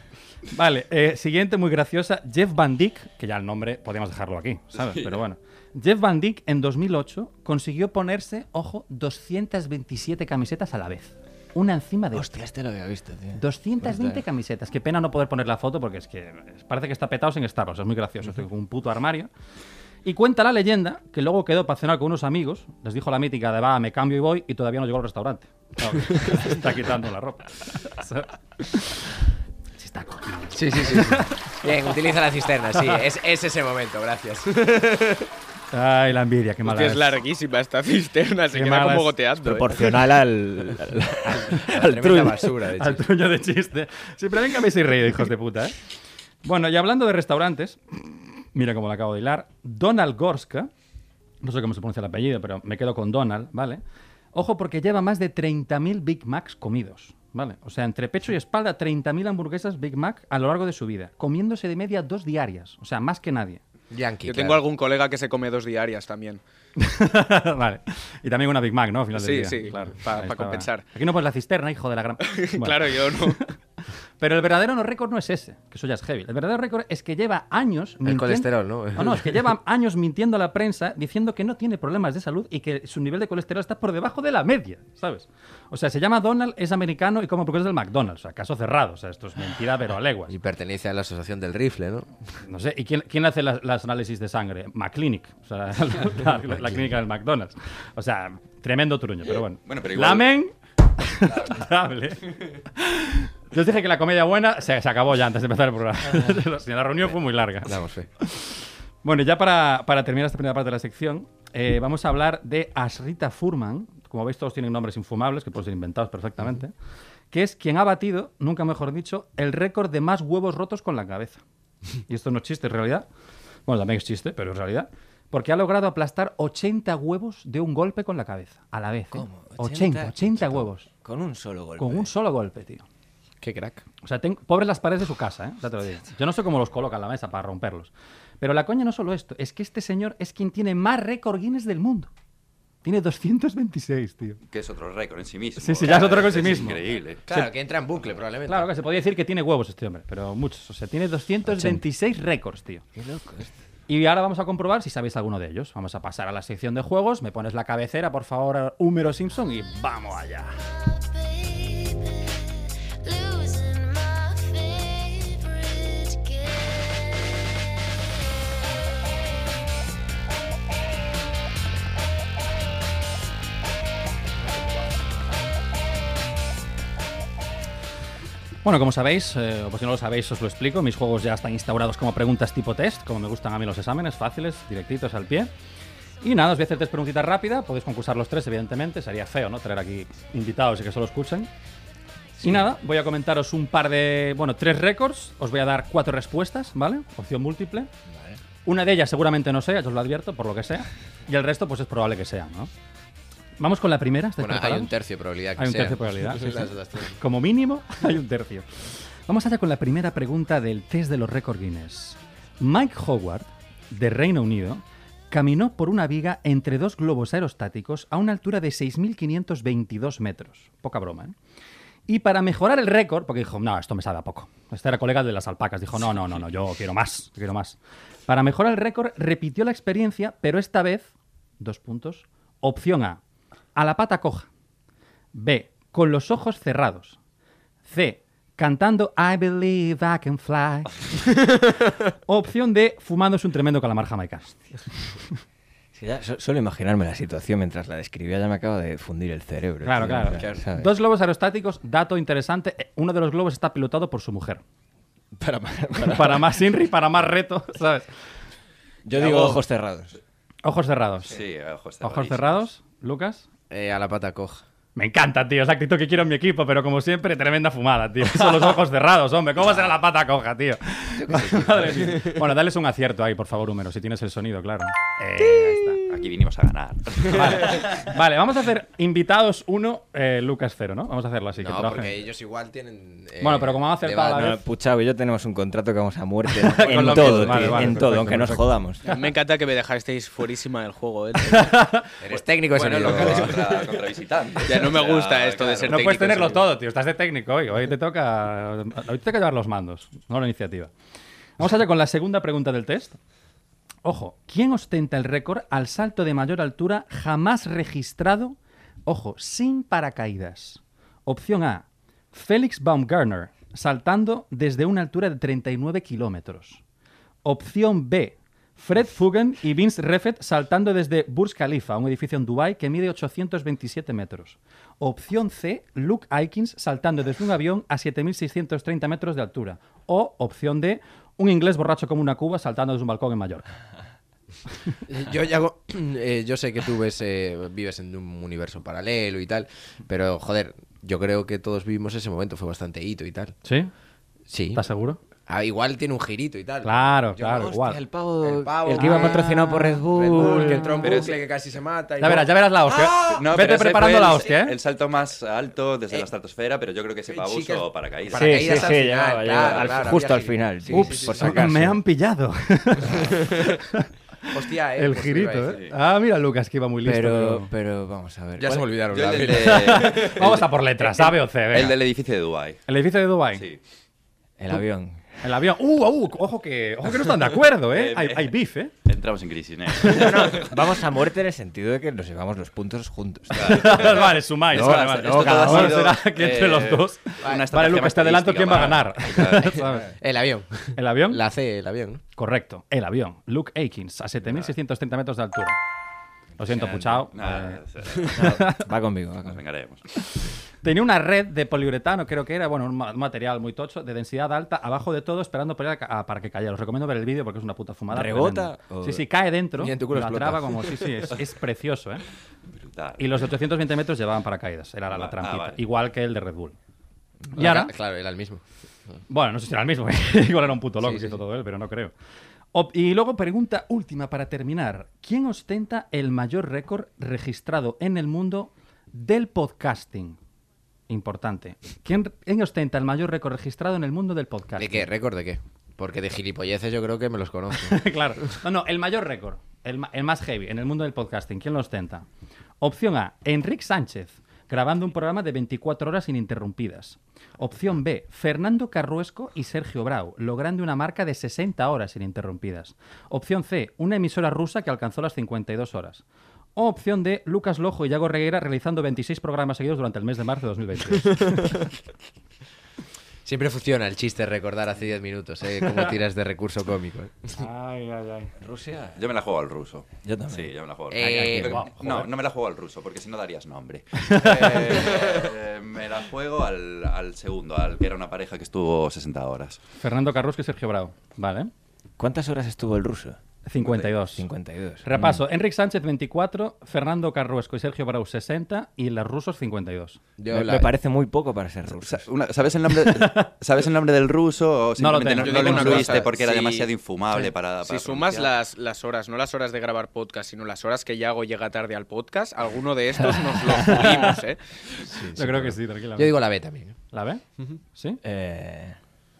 Speaker 2: Vale, eh, siguiente, muy graciosa. Jeff Van Dyck, que ya el nombre podríamos dejarlo aquí, ¿sabes? Pero bueno. Jeff Van Dyck en 2008 consiguió ponerse, ojo, 227 camisetas a la vez. Una encima de otra.
Speaker 1: este lo había visto, tío.
Speaker 2: 220 camisetas. Qué pena no poder poner la foto porque es que parece que está petados en Star Wars. Es muy gracioso. Estoy con un puto armario. Y cuenta la leyenda que luego quedó para cenar con unos amigos. Les dijo la mítica de va, me cambio y voy. Y todavía no llegó al restaurante. Claro, se está quitando la ropa. Se está cogiendo.
Speaker 1: Sí, sí, sí. sí. Bien, utiliza la cisterna, sí. Es, es ese momento, gracias.
Speaker 2: Ay, la envidia, qué mala
Speaker 4: Hostia, es larguísima esta cisterna, se
Speaker 2: Qué
Speaker 4: queda
Speaker 2: mala es.
Speaker 4: como goteando. ¿eh?
Speaker 5: Proporcional al, al, al
Speaker 1: Tremenda
Speaker 5: truño.
Speaker 1: basura, de
Speaker 2: Al
Speaker 1: hecho.
Speaker 2: truño de chiste. Siempre ven que me habéis reído, hijos de puta, ¿eh? Bueno, y hablando de restaurantes, mira cómo lo acabo de hilar. Donald Gorska, no sé cómo se pronuncia el apellido, pero me quedo con Donald, ¿vale? Ojo, porque lleva más de 30.000 Big Macs comidos, ¿vale? O sea, entre pecho y espalda, 30.000 hamburguesas Big Mac a lo largo de su vida, comiéndose de media dos diarias, o sea, más que nadie.
Speaker 1: Yankee.
Speaker 4: Yo tengo algún colega que se come dos diarias también.
Speaker 2: vale. Y también una Big Mac, ¿no? Al final del
Speaker 4: Sí,
Speaker 2: día.
Speaker 4: sí, pa-
Speaker 2: Ahí
Speaker 4: pa
Speaker 2: estaba.
Speaker 4: compensar.
Speaker 2: Aquí no pues la cisterna, hijo de la gran... Bueno.
Speaker 4: Claro, yo no.
Speaker 2: Pero el verdadero no récord no es ese, que eso ya es heavy. El verdadero récord es que lleva años
Speaker 1: El colesterol, ¿no?
Speaker 2: No, no, es que lleva años mintiendo a la prensa diciendo que no tiene problemas de salud y que su nivel de colesterol está por debajo de la media, ¿sabes? O sea, se llama Donald, es americano y como porque es del McDonald's, o sea, caso cerrado, o sea, esto es mentira pero a leguas.
Speaker 1: Y pertenece a la asociación del rifle, ¿no?
Speaker 2: No sé, ¿y quién, quién le hace las, las análisis de sangre? McClinic, o sea, la, la- la clínica del McDonald's. O sea, tremendo truño, pero bueno.
Speaker 3: Bueno, pero igual-
Speaker 2: Lamen. Lamentable. Yo os dije que la comedia buena se, se acabó ya antes de empezar el programa. la reunión fue muy larga.
Speaker 1: Damos fe.
Speaker 2: Bueno, ya para, para terminar esta primera parte de la sección, eh, vamos a hablar de Asrita Furman. Como veis, todos tienen nombres infumables que pueden ser inventados perfectamente. Que es quien ha batido, nunca mejor dicho, el récord de más huevos rotos con la cabeza. Y esto no es chiste, en realidad. Bueno, también es chiste, pero en realidad. Porque ha logrado aplastar 80 huevos de un golpe con la cabeza, a la vez. ¿eh? 80, 80 huevos.
Speaker 5: Con un solo golpe.
Speaker 2: Con un solo golpe, tío.
Speaker 1: Qué crack.
Speaker 2: O sea, ten- pobres las paredes de su casa, ¿eh? Ya te lo digo. Yo no sé cómo los coloca en la mesa para romperlos. Pero la coña no es solo esto, es que este señor es quien tiene más récord Guinness del mundo. Tiene 226, tío.
Speaker 3: Que es otro récord en sí mismo.
Speaker 2: Sí, sí, ya es otro récord en sí
Speaker 3: Es
Speaker 2: mismo.
Speaker 3: Increíble.
Speaker 1: Claro, que entra en bucle, probablemente.
Speaker 2: Claro que se podía decir que tiene huevos este hombre, pero muchos. O sea, tiene 226 récords, tío.
Speaker 1: Qué loco esto.
Speaker 2: Y ahora vamos a comprobar si sabéis alguno de ellos. Vamos a pasar a la sección de juegos. Me pones la cabecera, por favor, Húmero Simpson, y vamos allá.
Speaker 6: Losing my favorite
Speaker 2: Bueno, como sabéis, eh, o pues si no lo sabéis, os lo explico. Mis juegos ya están instaurados como preguntas tipo test, como me gustan a mí los exámenes, fáciles, directitos al pie. Y nada, os voy a hacer tres preguntitas rápidas. Podéis concursar los tres, evidentemente. Sería feo, ¿no? Traer aquí invitados y que solo escuchen. Y nada, voy a comentaros un par de. Bueno, tres récords. Os voy a dar cuatro respuestas, ¿vale? Opción múltiple. Una de ellas seguramente no sea, yo os lo advierto, por lo que sea. Y el resto, pues es probable que sea, ¿no? Vamos con la primera. este ¿estáis
Speaker 1: Bueno, hay
Speaker 2: preparados?
Speaker 1: un tercio de probabilidad que
Speaker 2: Hay un
Speaker 1: sea.
Speaker 2: tercio de probabilidad, sí, sí.
Speaker 1: Las otras tres.
Speaker 2: Como mínimo, hay un tercio. Vamos allá con la primera pregunta del test de los récords Guinness. Mike Howard, de Reino Unido, caminó por una viga entre dos globos aerostáticos a una altura de 6.522 metros. Poca broma, ¿eh? Y para mejorar el récord, porque dijo, no, esto me sabe a poco. Este era colega de las alpacas, dijo, no, no, no, no, yo quiero más, quiero más. Para mejorar el récord, repitió la experiencia, pero esta vez, dos puntos, opción A, a la pata coja. B. Con los ojos cerrados. C. Cantando I believe I can fly. Opción D. Fumándose un tremendo calamar jamaicano.
Speaker 5: Sí, ya so- solo imaginarme la situación mientras la describía ya me acaba de fundir el cerebro.
Speaker 2: Claro,
Speaker 5: tío,
Speaker 2: claro.
Speaker 5: o sea, ¿sabes?
Speaker 2: Dos globos aerostáticos, dato interesante. eh, Uno de los globos está pilotado por su mujer.
Speaker 5: Para- para-
Speaker 2: Para, más Inri, para más reto, ¿sabes?
Speaker 5: Yo digo ojos cerrados.
Speaker 2: Ojos cerrados.
Speaker 3: Sí, ojos cerrados.
Speaker 2: Ojos cerrados, Lucas.
Speaker 1: Eh, a la pata coja.
Speaker 2: Me encanta, tío. Es la actitud que quiero en mi equipo, pero como siempre, tremenda fumada, tío. Son los ojos cerrados, hombre. ¿Cómo será la pata coja, tío? Madre mía. Bueno, dales un acierto ahí, por favor, Húmero, si tienes el sonido, claro. Eh, ahí
Speaker 3: Aquí vinimos a ganar.
Speaker 2: está. Vale. Vale, vamos a hacer invitados uno, eh, Lucas cero, ¿no? Vamos a hacerlo así. que
Speaker 1: no,
Speaker 2: trabajen.
Speaker 1: porque ellos igual tienen. eh,
Speaker 2: Bueno, pero como han acertado
Speaker 1: debate.
Speaker 2: la
Speaker 5: No,
Speaker 2: vez.
Speaker 5: Puchado y yo tenemos un contrato que vamos a muerte en, en
Speaker 2: Con lo
Speaker 5: todo,
Speaker 2: mismo. Vale,
Speaker 5: tío,
Speaker 2: vale,
Speaker 5: en
Speaker 2: perfecto,
Speaker 5: todo, aunque nos
Speaker 2: perfecto.
Speaker 5: jodamos.
Speaker 4: Me encanta que me dejasteis fuerísima del juego, ¿eh?
Speaker 1: Eres técnico,
Speaker 3: bueno,
Speaker 1: sonido.
Speaker 3: locales contra, contra visitantes.
Speaker 4: Ya no me
Speaker 3: O sea,
Speaker 4: gusta esto de ser
Speaker 2: No puedes
Speaker 4: técnico,
Speaker 2: tenerlo
Speaker 4: sí.
Speaker 2: todo, tío. Estás de técnico hoy. Hoy te toca, hoy te toca llevar los mandos, no la iniciativa. Vamos allá con la segunda pregunta del test. Ojo, ¿quién ostenta el récord al salto de mayor altura jamás registrado? Ojo, sin paracaídas. Opción A, Félix Baumgartner, saltando desde una altura de 39 kilómetros. Opción B, Fred Fugen y Vince Refet saltando desde Burj Khalifa, un edificio en Dubái que mide 827 metros. Opción C, Luke Aikins saltando desde un avión a 7.630 metros de altura. O opción D, un inglés borracho como una cuba saltando desde un balcón en Mallorca.
Speaker 1: Yo, Yago, eh, yo sé que tú ves, eh, vives en un universo paralelo y tal, pero joder, yo creo que todos vivimos ese momento, fue bastante hito y tal.
Speaker 2: ¿Sí?
Speaker 1: Sí.
Speaker 2: ¿Estás seguro?
Speaker 1: Ah, igual tiene un girito y tal.
Speaker 2: Claro,
Speaker 1: Yo,
Speaker 2: claro,
Speaker 1: hostia,
Speaker 2: igual.
Speaker 1: El pavo, el
Speaker 5: el que iba patrocinado por Red Bull.
Speaker 1: Red Bull, que entró en
Speaker 3: Pero
Speaker 1: bucle, que casi se mata. y
Speaker 2: Ya
Speaker 1: no.
Speaker 2: verás, ya verás la hostia.
Speaker 3: No, pero
Speaker 2: Vete
Speaker 3: ese fue
Speaker 2: preparando
Speaker 3: el-
Speaker 2: la hostia, ¿eh?
Speaker 3: El salto más alto desde
Speaker 1: Eh,
Speaker 3: la estratosfera, pero yo creo que ese pavo
Speaker 1: chicas,
Speaker 3: usó paracaídas.
Speaker 5: Sí, sí,
Speaker 1: Paracaídas
Speaker 5: sí,
Speaker 1: al final,
Speaker 5: llegaba,
Speaker 1: claro,
Speaker 5: llegaba, al-
Speaker 1: claro,
Speaker 5: justo
Speaker 1: había
Speaker 5: al
Speaker 1: girito.
Speaker 5: final.
Speaker 1: Sí,
Speaker 5: Ups,
Speaker 1: sí, sí,
Speaker 5: por
Speaker 1: sí.
Speaker 5: si acaso.
Speaker 2: Me han pillado.
Speaker 1: Hostia, eh,
Speaker 2: el
Speaker 1: pues te iba a
Speaker 2: girito,
Speaker 1: decir.
Speaker 2: ¿eh? Ah, mira, Lucas, que iba muy listo.
Speaker 5: Pero,
Speaker 2: pero-
Speaker 5: pero vamos a ver.
Speaker 1: Ya se me olvidaron.
Speaker 3: Yo
Speaker 1: la
Speaker 3: el, del,
Speaker 1: verdad.
Speaker 3: de-
Speaker 2: Vamos a por letras, A, B o C. venga.
Speaker 3: el del edificio de Dubai.
Speaker 2: El edificio de Dubai.
Speaker 3: Sí.
Speaker 5: El avión.
Speaker 2: El avión. ¡Uh, uh! Ojo que, ojo que no están de acuerdo, ¿eh?
Speaker 3: Eh,
Speaker 2: Hay,
Speaker 3: eh.
Speaker 2: hay beef, ¿eh?
Speaker 3: Entramos en crisis, ¿eh?
Speaker 5: Vamos a muerte en el sentido de que nos llevamos los puntos juntos.
Speaker 2: vale, sumáis.
Speaker 3: No,
Speaker 2: vale,
Speaker 3: esto-
Speaker 2: vale.
Speaker 3: esto
Speaker 2: No, cada
Speaker 3: todo ha
Speaker 2: uno
Speaker 3: sido,
Speaker 2: será que entre
Speaker 3: eh,
Speaker 2: los dos.
Speaker 3: una
Speaker 2: Vale,
Speaker 3: estrategia
Speaker 2: Lucas, te adelanto quién va a ganar.
Speaker 3: estadística para-
Speaker 2: ¿Sabes?
Speaker 1: El avión.
Speaker 2: ¿El avión?
Speaker 1: La C, el avión. ¿no?
Speaker 2: Correcto, el avión. Luke Aikins, a 7.630 metros de altura. Lo siento, puchao.
Speaker 3: Nada,
Speaker 2: Eh,
Speaker 5: Va conmigo,
Speaker 3: nos
Speaker 5: va conmigo.
Speaker 3: vengaremos.
Speaker 2: Tenía una red de poliuretano, creo que era, bueno, un ma- un material muy tocho, de densidad alta, abajo de todo, esperando para, a- para que cayera. Os recomiendo ver el vídeo porque es una puta fumada.
Speaker 5: ¿Rebota
Speaker 2: tremenda.
Speaker 5: o-
Speaker 2: Sí, sí, cae dentro.
Speaker 1: Y en tu culo
Speaker 2: la
Speaker 1: explota.
Speaker 2: traba como, sí, sí, es, es precioso, ¿eh?
Speaker 3: Brutal.
Speaker 2: Y los de 820 metros llevaban paracaídas, era la, la
Speaker 3: Ah,
Speaker 2: trampita.
Speaker 3: vale.
Speaker 2: Igual que el de Red Bull. Y
Speaker 1: La
Speaker 2: ahora,
Speaker 1: ca- Claro, era el mismo.
Speaker 2: bueno, no sé si era el mismo, igual era un puto loco
Speaker 1: Sí,
Speaker 2: que hizo
Speaker 1: sí.
Speaker 2: todo él, pero no creo. Op- y luego pregunta última para terminar. ¿Quién ostenta el mayor récord registrado en el mundo del podcasting? Importante. ¿Quién, quién ostenta el mayor récord registrado en el mundo del
Speaker 1: ¿De
Speaker 2: podcasting?
Speaker 1: qué? ¿Récord de qué? Porque de gilipolleces yo creo que me los conozco.
Speaker 2: claro. No, no, el mayor récord, el, ma- el más heavy en el mundo del podcasting. ¿Quién lo ostenta? Opción A, Enric Sánchez, grabando un programa de 24 horas ininterrumpidas. Opción B, Fernando Carruesco y Sergio Brau, logrando una marca de 60 horas ininterrumpidas. Opción C, una emisora rusa que alcanzó las 52 horas. O opción D, Lucas Lojo y Yago Reguera realizando 26 programas seguidos durante el mes de marzo de 2022.
Speaker 1: Siempre funciona el chiste recordar hace 10 minutos, ¿eh? Cómo tiras de recurso cómico. ¿eh?
Speaker 2: ay, ay, ay.
Speaker 3: Rusia. Yo me la juego al ruso.
Speaker 5: Yo también.
Speaker 3: Sí, yo me la juego al
Speaker 1: Eh,
Speaker 3: ruso.
Speaker 2: guau,
Speaker 3: no,
Speaker 2: joder.
Speaker 3: no me la juego al ruso, porque si no darías nombre. Eh, me la juego al, al segundo, al que era una pareja que estuvo 60 horas.
Speaker 2: Fernando Carruesco y Sergio Brau. Vale.
Speaker 5: ¿Cuántas horas estuvo el ruso?
Speaker 2: 52.
Speaker 5: 52.
Speaker 2: Repaso, Enric Sánchez 24, Fernando Carruesco y Sergio Brau 60 y los rusos 52.
Speaker 1: Yo
Speaker 5: me,
Speaker 1: la-
Speaker 5: me parece muy poco para ser ruso.
Speaker 3: Sa- una- ¿Sabes, el nombre, ¿Sabes el nombre del ruso o
Speaker 2: No lo
Speaker 3: simplemente
Speaker 2: tengo.
Speaker 3: no,
Speaker 4: Yo
Speaker 3: no
Speaker 4: digo
Speaker 3: lo
Speaker 4: una
Speaker 3: incluiste
Speaker 4: cosa,
Speaker 3: porque era
Speaker 4: si-
Speaker 3: demasiado infumable para,
Speaker 4: Si
Speaker 3: para
Speaker 4: sumas
Speaker 3: pronunciar?
Speaker 4: las, las horas, no las horas de grabar podcast, sino las horas que Yago llega tarde al podcast, alguno de estos nos lo jugamos, ¿eh?
Speaker 2: Yo creo que sí,
Speaker 1: Yo
Speaker 2: tranquilamente.
Speaker 1: digo la B también. ¿eh?
Speaker 2: ¿La B? ¿Sí?
Speaker 5: Eh,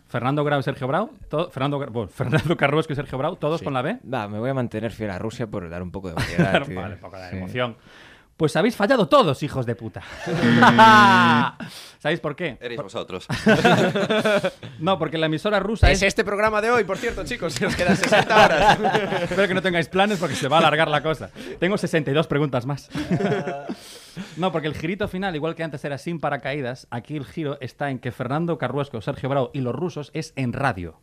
Speaker 2: Fernando Grau y Sergio Brau, to- Fernando, Gra- bueno, Fernando Carruesco y Sergio Brau, todos
Speaker 5: sí.
Speaker 2: con la B.
Speaker 5: Va, me voy a mantener fiel a Rusia por dar un poco de variedad. tío.
Speaker 2: vale, poco de
Speaker 5: Sí.
Speaker 2: emoción. Pues habéis fallado todos, hijos de puta. ¿Sabéis por qué?
Speaker 3: Eres vosotros.
Speaker 2: No, porque la emisora rusa
Speaker 1: Es
Speaker 2: es...
Speaker 1: este programa de hoy, por cierto, chicos. Nos quedan 60 horas.
Speaker 2: Espero que no tengáis planes porque se va a alargar la cosa. Tengo 62 preguntas más. No, porque el girito final, igual que antes era sin paracaídas, aquí el giro está en que Fernando Carruesco, Sergio Bravo y los rusos es en radio.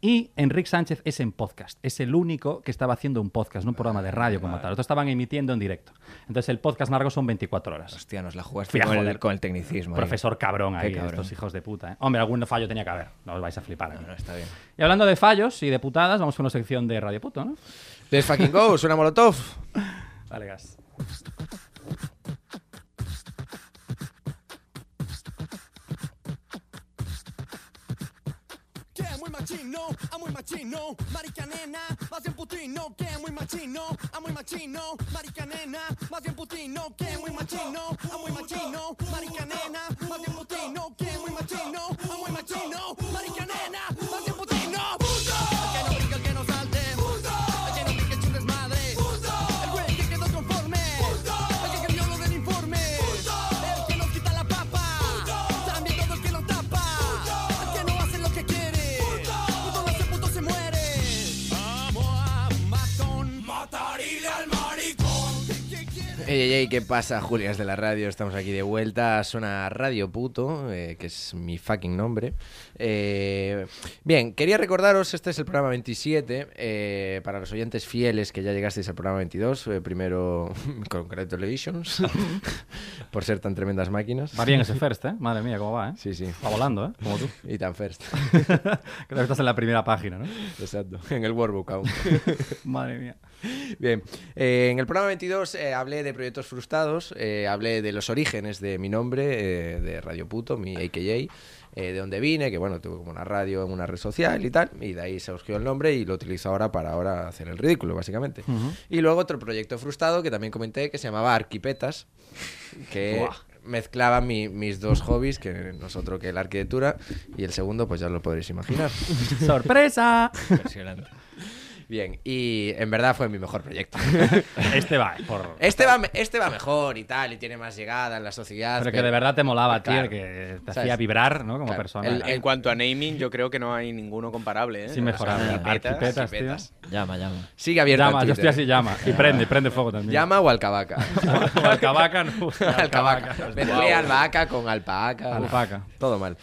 Speaker 2: Y Enrique Sánchez es en podcast. Es el único que estaba haciendo un podcast, no un programa de radio como tal. Los otros estaban emitiendo en directo. Entonces el podcast largo son 24 horas.
Speaker 5: Hostia, nos la jugaste
Speaker 2: Fui a
Speaker 5: con el,
Speaker 2: joder.
Speaker 5: con el tecnicismo. eh. ahí.
Speaker 2: Profesor cabrón
Speaker 5: Qué
Speaker 2: ahí,
Speaker 5: cabrón.
Speaker 2: estos hijos de puta. ¿eh? Hombre, algún fallo tenía que haber. No os vais a flipar. aquí.
Speaker 5: No, está bien.
Speaker 2: Y hablando de fallos y de putadas, vamos con una sección de Radio Puto, ¿no?
Speaker 1: Let's fucking go, suena Molotov.
Speaker 2: Vale, gas.
Speaker 7: Que muy machino, a muy machino, marica nena, más bien putino, que muy machino, a muy machino, marica nena, más bien putino, que muy machino, a muy machino, marica nena, más bien putino, que muy machino, a muy machino, marica nena, más bien putino, puto. El que no pique, el que no salte, puto. El que no pique, es un desmadre, puto. El güey que quedó conforme, puto. El que cambió lo del informe, puto. El que nos quita la papa, puto. También todo el que nos tapa, puto. El que no hace lo que quiere, puto. Puto no hace, puto se muere. Vamos a un matón, matarile al maricón. ¿Qué quiere?
Speaker 1: Ey, ey, ey, ¿qué pasa, Julias de la radio? Estamos aquí de vuelta. Suena Radio Puto, eh, que es mi fucking nombre. Eh, bien, quería recordaros, este es el programa 27. eh, para los oyentes fieles que ya llegasteis al programa 22, eh, primero, congratulations, por ser tan tremendas máquinas.
Speaker 2: Va bien ese first, ¿eh? Madre mía, cómo va, ¿eh?
Speaker 1: Sí, sí.
Speaker 2: Va volando, ¿eh? Como tú.
Speaker 1: Y tan first.
Speaker 2: Creo que estás en la primera página, ¿no?
Speaker 1: Exacto. En el workbook aún.
Speaker 2: Madre mía.
Speaker 1: Bien, eh, en el programa 22 eh, hablé de proyectos frustrados, eh, hablé de los orígenes de mi nombre, eh, de Radio Puto, mi AKJ, eh, de dónde vine, que bueno, tuve como una radio en una red social y tal, y de ahí se surgió el nombre y lo utilizo ahora para ahora hacer el ridículo, básicamente. Y luego otro proyecto frustrado que también comenté que se llamaba Arquipetas, que... mezclaba mi- mis dos hobbies, que no es otro que la arquitectura, y el segundo, pues ya lo podréis imaginar.
Speaker 2: ¡Sorpresa!
Speaker 5: Impresionante.
Speaker 1: Bien, y en verdad fue mi mejor proyecto.
Speaker 2: Este va, eh, por...
Speaker 1: Este va, me- este va mejor y tal, y tiene más llegada en la sociedad.
Speaker 2: Pero que de verdad te molaba, tío,
Speaker 1: Claro.
Speaker 2: el que te
Speaker 1: ¿Sabes?
Speaker 2: hacía vibrar, ¿no? Como
Speaker 1: Claro.
Speaker 2: persona.
Speaker 1: El-
Speaker 4: En cuanto a naming, yo creo que no hay ninguno comparable, ¿eh?
Speaker 2: Sin mejorar.
Speaker 4: O sea, Arquipetas,
Speaker 2: Arquipetas,
Speaker 1: Arquipetas.
Speaker 2: tío.
Speaker 5: Llama, llama.
Speaker 1: Sigue abierto.
Speaker 2: Llama,
Speaker 1: en
Speaker 2: yo
Speaker 1: Twitter.
Speaker 2: estoy así, llama. Y prende, prende fuego también.
Speaker 1: Llama o alcabaca.
Speaker 2: O alcabaca, no.
Speaker 1: alcabaca. Mezclé albahaca con alpaca.
Speaker 2: Alpaca.
Speaker 1: Todo mal.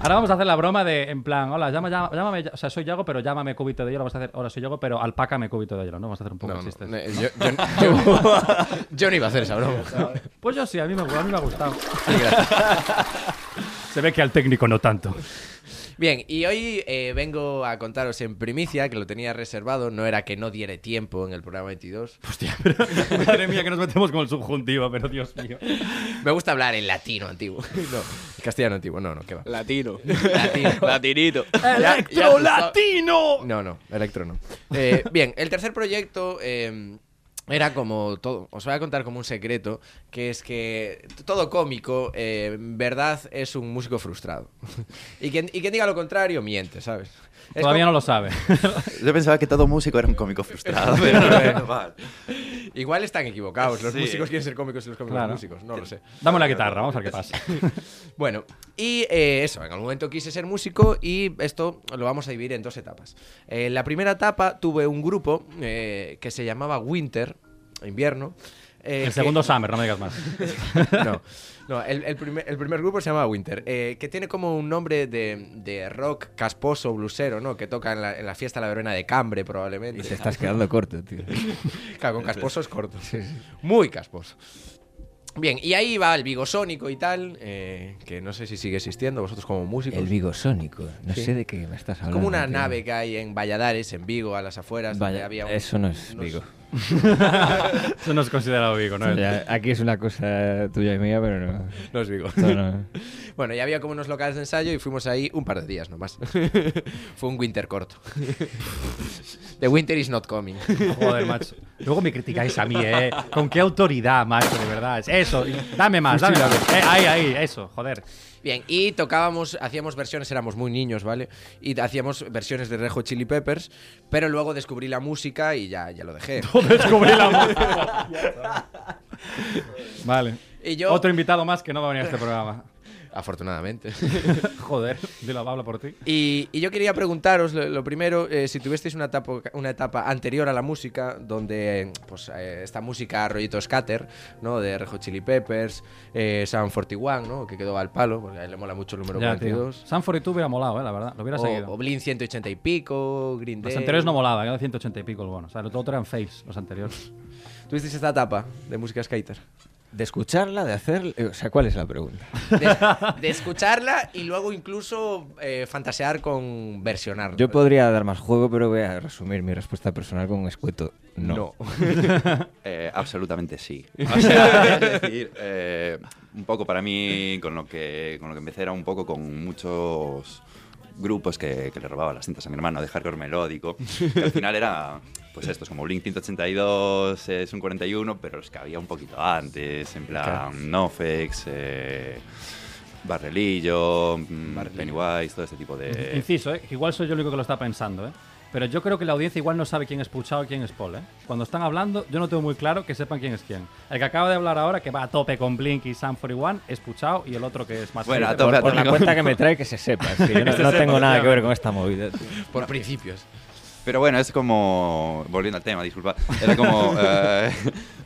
Speaker 2: Ahora vamos a hacer la broma de, en plan, hola, llama, llama- llámame, o sea, soy Yago, pero llámame cubito de hielo. Vamos a hacer, hola, soy Yago, pero alpácame cubito de hielo, ¿no? Vamos a hacer un poco
Speaker 1: No,
Speaker 2: de
Speaker 1: no,
Speaker 2: chistes.
Speaker 1: no, yo, yo- yo- yo no iba a hacer esa broma.
Speaker 2: Pues yo sí, a mí me, gu- a mí me ha gustado.
Speaker 1: Sí, gracias.
Speaker 2: Se ve que al técnico no tanto.
Speaker 1: Bien, y hoy eh, vengo a contaros en primicia, que lo tenía reservado, no era que no diere tiempo en el programa 22.
Speaker 2: Pues Madre mía, que nos metemos con el subjuntivo, pero Dios mío.
Speaker 1: Me gusta hablar en latino antiguo. No, en castellano antiguo, no, no, qué va.
Speaker 4: Latino.
Speaker 1: Latino.
Speaker 4: Latinito.
Speaker 1: ¡Electro latino! No, no, electro no. Eh, bien, el tercer proyecto eh, era como todo. Os voy a contar como un secreto: que es que todo cómico, eh, en verdad, es un músico frustrado. y, quien, y quien diga lo contrario, miente, ¿sabes? Es
Speaker 2: Todavía
Speaker 1: como-
Speaker 2: no lo sabe.
Speaker 3: Yo pensaba que todo músico era un cómico frustrado, pero bueno, vale.
Speaker 1: Igual están equivocados. Los
Speaker 3: Sí.
Speaker 1: músicos quieren ser cómicos y los cómicos
Speaker 2: Claro.
Speaker 1: músicos. No lo sé.
Speaker 2: Dame la guitarra, vamos a ver qué pasa.
Speaker 1: Bueno, y eh, eso, en algún momento quise ser músico y esto lo vamos a dividir en dos etapas. Eh, la primera etapa tuve un grupo eh, que se llamaba Winter, invierno. eh,
Speaker 2: El
Speaker 1: que-
Speaker 2: segundo Summer, no me digas más.
Speaker 1: No, no, el, el primer, el primer grupo se llama Winter, eh, que tiene como un nombre de, de rock casposo, blusero, ¿no? Que toca en la, en la fiesta de la verbena de Cambre, probablemente.
Speaker 5: Y te estás quedando corto, tío.
Speaker 1: Claro, con casposos cortos. Muy casposo. Bien, y ahí va el Vigo Sónico y tal, eh, que no sé si sigue existiendo, vosotros como músicos.
Speaker 5: El vigosónico. No
Speaker 1: Sí.
Speaker 5: sé de qué me estás
Speaker 1: Es
Speaker 5: hablando.
Speaker 1: como una
Speaker 5: tío.
Speaker 1: nave que hay en Valladares, en Vigo, a las afueras, donde
Speaker 5: Vaya,
Speaker 1: había un-
Speaker 5: eso no es
Speaker 1: unos-
Speaker 5: Vigo.
Speaker 2: Eso no es considerado Vigo, ¿no?
Speaker 5: O sea, aquí es una cosa tuya y mía, pero no.
Speaker 1: No es Vigo.
Speaker 5: Esto no-
Speaker 1: Bueno, ya había como unos locales de ensayo y fuimos ahí un par de días nomás. Fue un winter corto. The winter is not coming.
Speaker 2: Joder, macho. Luego me criticáis a mí, ¿eh? ¿Con qué autoridad, macho, de verdad? Es- Eso, y- dame más, dame más. Eh, ahí, ahí, eso, joder.
Speaker 1: Bien, y tocábamos, hacíamos versiones, éramos muy niños, ¿vale? Y hacíamos versiones de Rejo Chili Peppers, pero luego descubrí la música y ya, ya lo dejé.
Speaker 2: Descubrí la música. Vale.
Speaker 1: Y yo-
Speaker 2: Otro invitado más que no va a venir a este programa.
Speaker 1: afortunadamente.
Speaker 2: Joder, de la habla por ti.
Speaker 1: Y, y yo quería preguntaros, lo, lo primero, eh, si tuvisteis una etapa, una etapa anterior a la música, donde pues, eh, esta música rollito scatter, ¿no? De Rejo Chili Peppers, eh, Sam 41, ¿no? Que quedó al palo, porque a él le mola mucho el número
Speaker 2: Ya, tío.
Speaker 1: 42.
Speaker 2: Sanford y tú hubiera molado, eh, la verdad. Lo hubiera
Speaker 1: O,
Speaker 2: seguido.
Speaker 1: o Blink 180 y pico, Green Day.
Speaker 2: Los anteriores no molaba, eran 180 y pico el bono. O sea, los otros eran fails, los anteriores.
Speaker 1: ¿Tuvisteis esta etapa de música skater?
Speaker 5: De escucharla, de hacer... eh, O sea, ¿cuál es la pregunta?
Speaker 1: De, de escucharla y luego incluso eh, fantasear con versionarla.
Speaker 5: Yo podría dar más juego, pero voy a resumir mi respuesta personal con un escueto. No.
Speaker 1: No.
Speaker 3: Eh, absolutamente sí. O sea, es decir, eh, un poco para mí, con lo, que, con lo que empecé era un poco con muchos grupos que, que le robaba las cintas a mi hermano de hardcore melódico. que al final era, pues esto, es como Blink 182, es un 41, pero los que había un poquito antes, en plan Nofex, eh, Barrelillo, mm, Pennywise, todo este tipo de...
Speaker 2: Inciso, eh, que igual soy yo el único que lo está pensando, eh. Pero yo creo que la audiencia igual no sabe quién es Puchao y quién es Paul, eh. Cuando están hablando, yo no tengo muy claro que sepan quién es quién. El que acaba de hablar ahora, que va a tope con Blink y Sam 41, es Puchao y el otro que es más...
Speaker 3: Bueno,
Speaker 2: fail,
Speaker 3: a tope,
Speaker 2: eh,
Speaker 3: a
Speaker 5: Por la
Speaker 3: Amigo.
Speaker 5: cuenta que me trae que se sepa. es que yo no, no tengo nada que ver con esta movida. tío.
Speaker 1: Por principios.
Speaker 3: Pero bueno, es como... Volviendo al tema, disculpa. Era como... eh,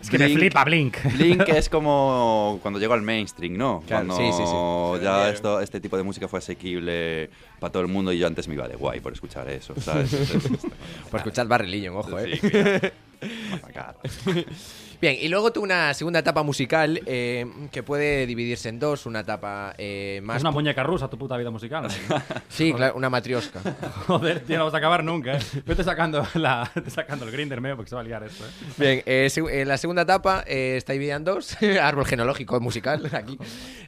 Speaker 2: Es que me
Speaker 3: Blink-
Speaker 2: flipa Blink.
Speaker 3: Blink es como cuando llegó al mainstream, ¿no?
Speaker 1: Claro,
Speaker 3: cuando
Speaker 1: sí, sí, sí.
Speaker 3: ya esto, este tipo de música fue asequible para todo el mundo y yo antes me iba de guay por escuchar eso, ¿sabes? Entonces, este,
Speaker 1: Por escuchar Barrelillo, ojo, eh.
Speaker 3: sí, que- macarra.
Speaker 1: Bien, y luego tú una segunda etapa musical eh, que puede dividirse en dos, una etapa eh, más...
Speaker 2: Es una muñeca rusa tu puta vida musical. ¿no?
Speaker 1: Sí, claro, una matriosca.
Speaker 2: Joder, tío, no vas a acabar nunca, eh. Vete sacando, la, vete sacando el grinder medio porque se va a liar esto, eh.
Speaker 1: Bien, eh, seg- eh, la segunda etapa eh, está dividida en dos, árbol genológico musical aquí,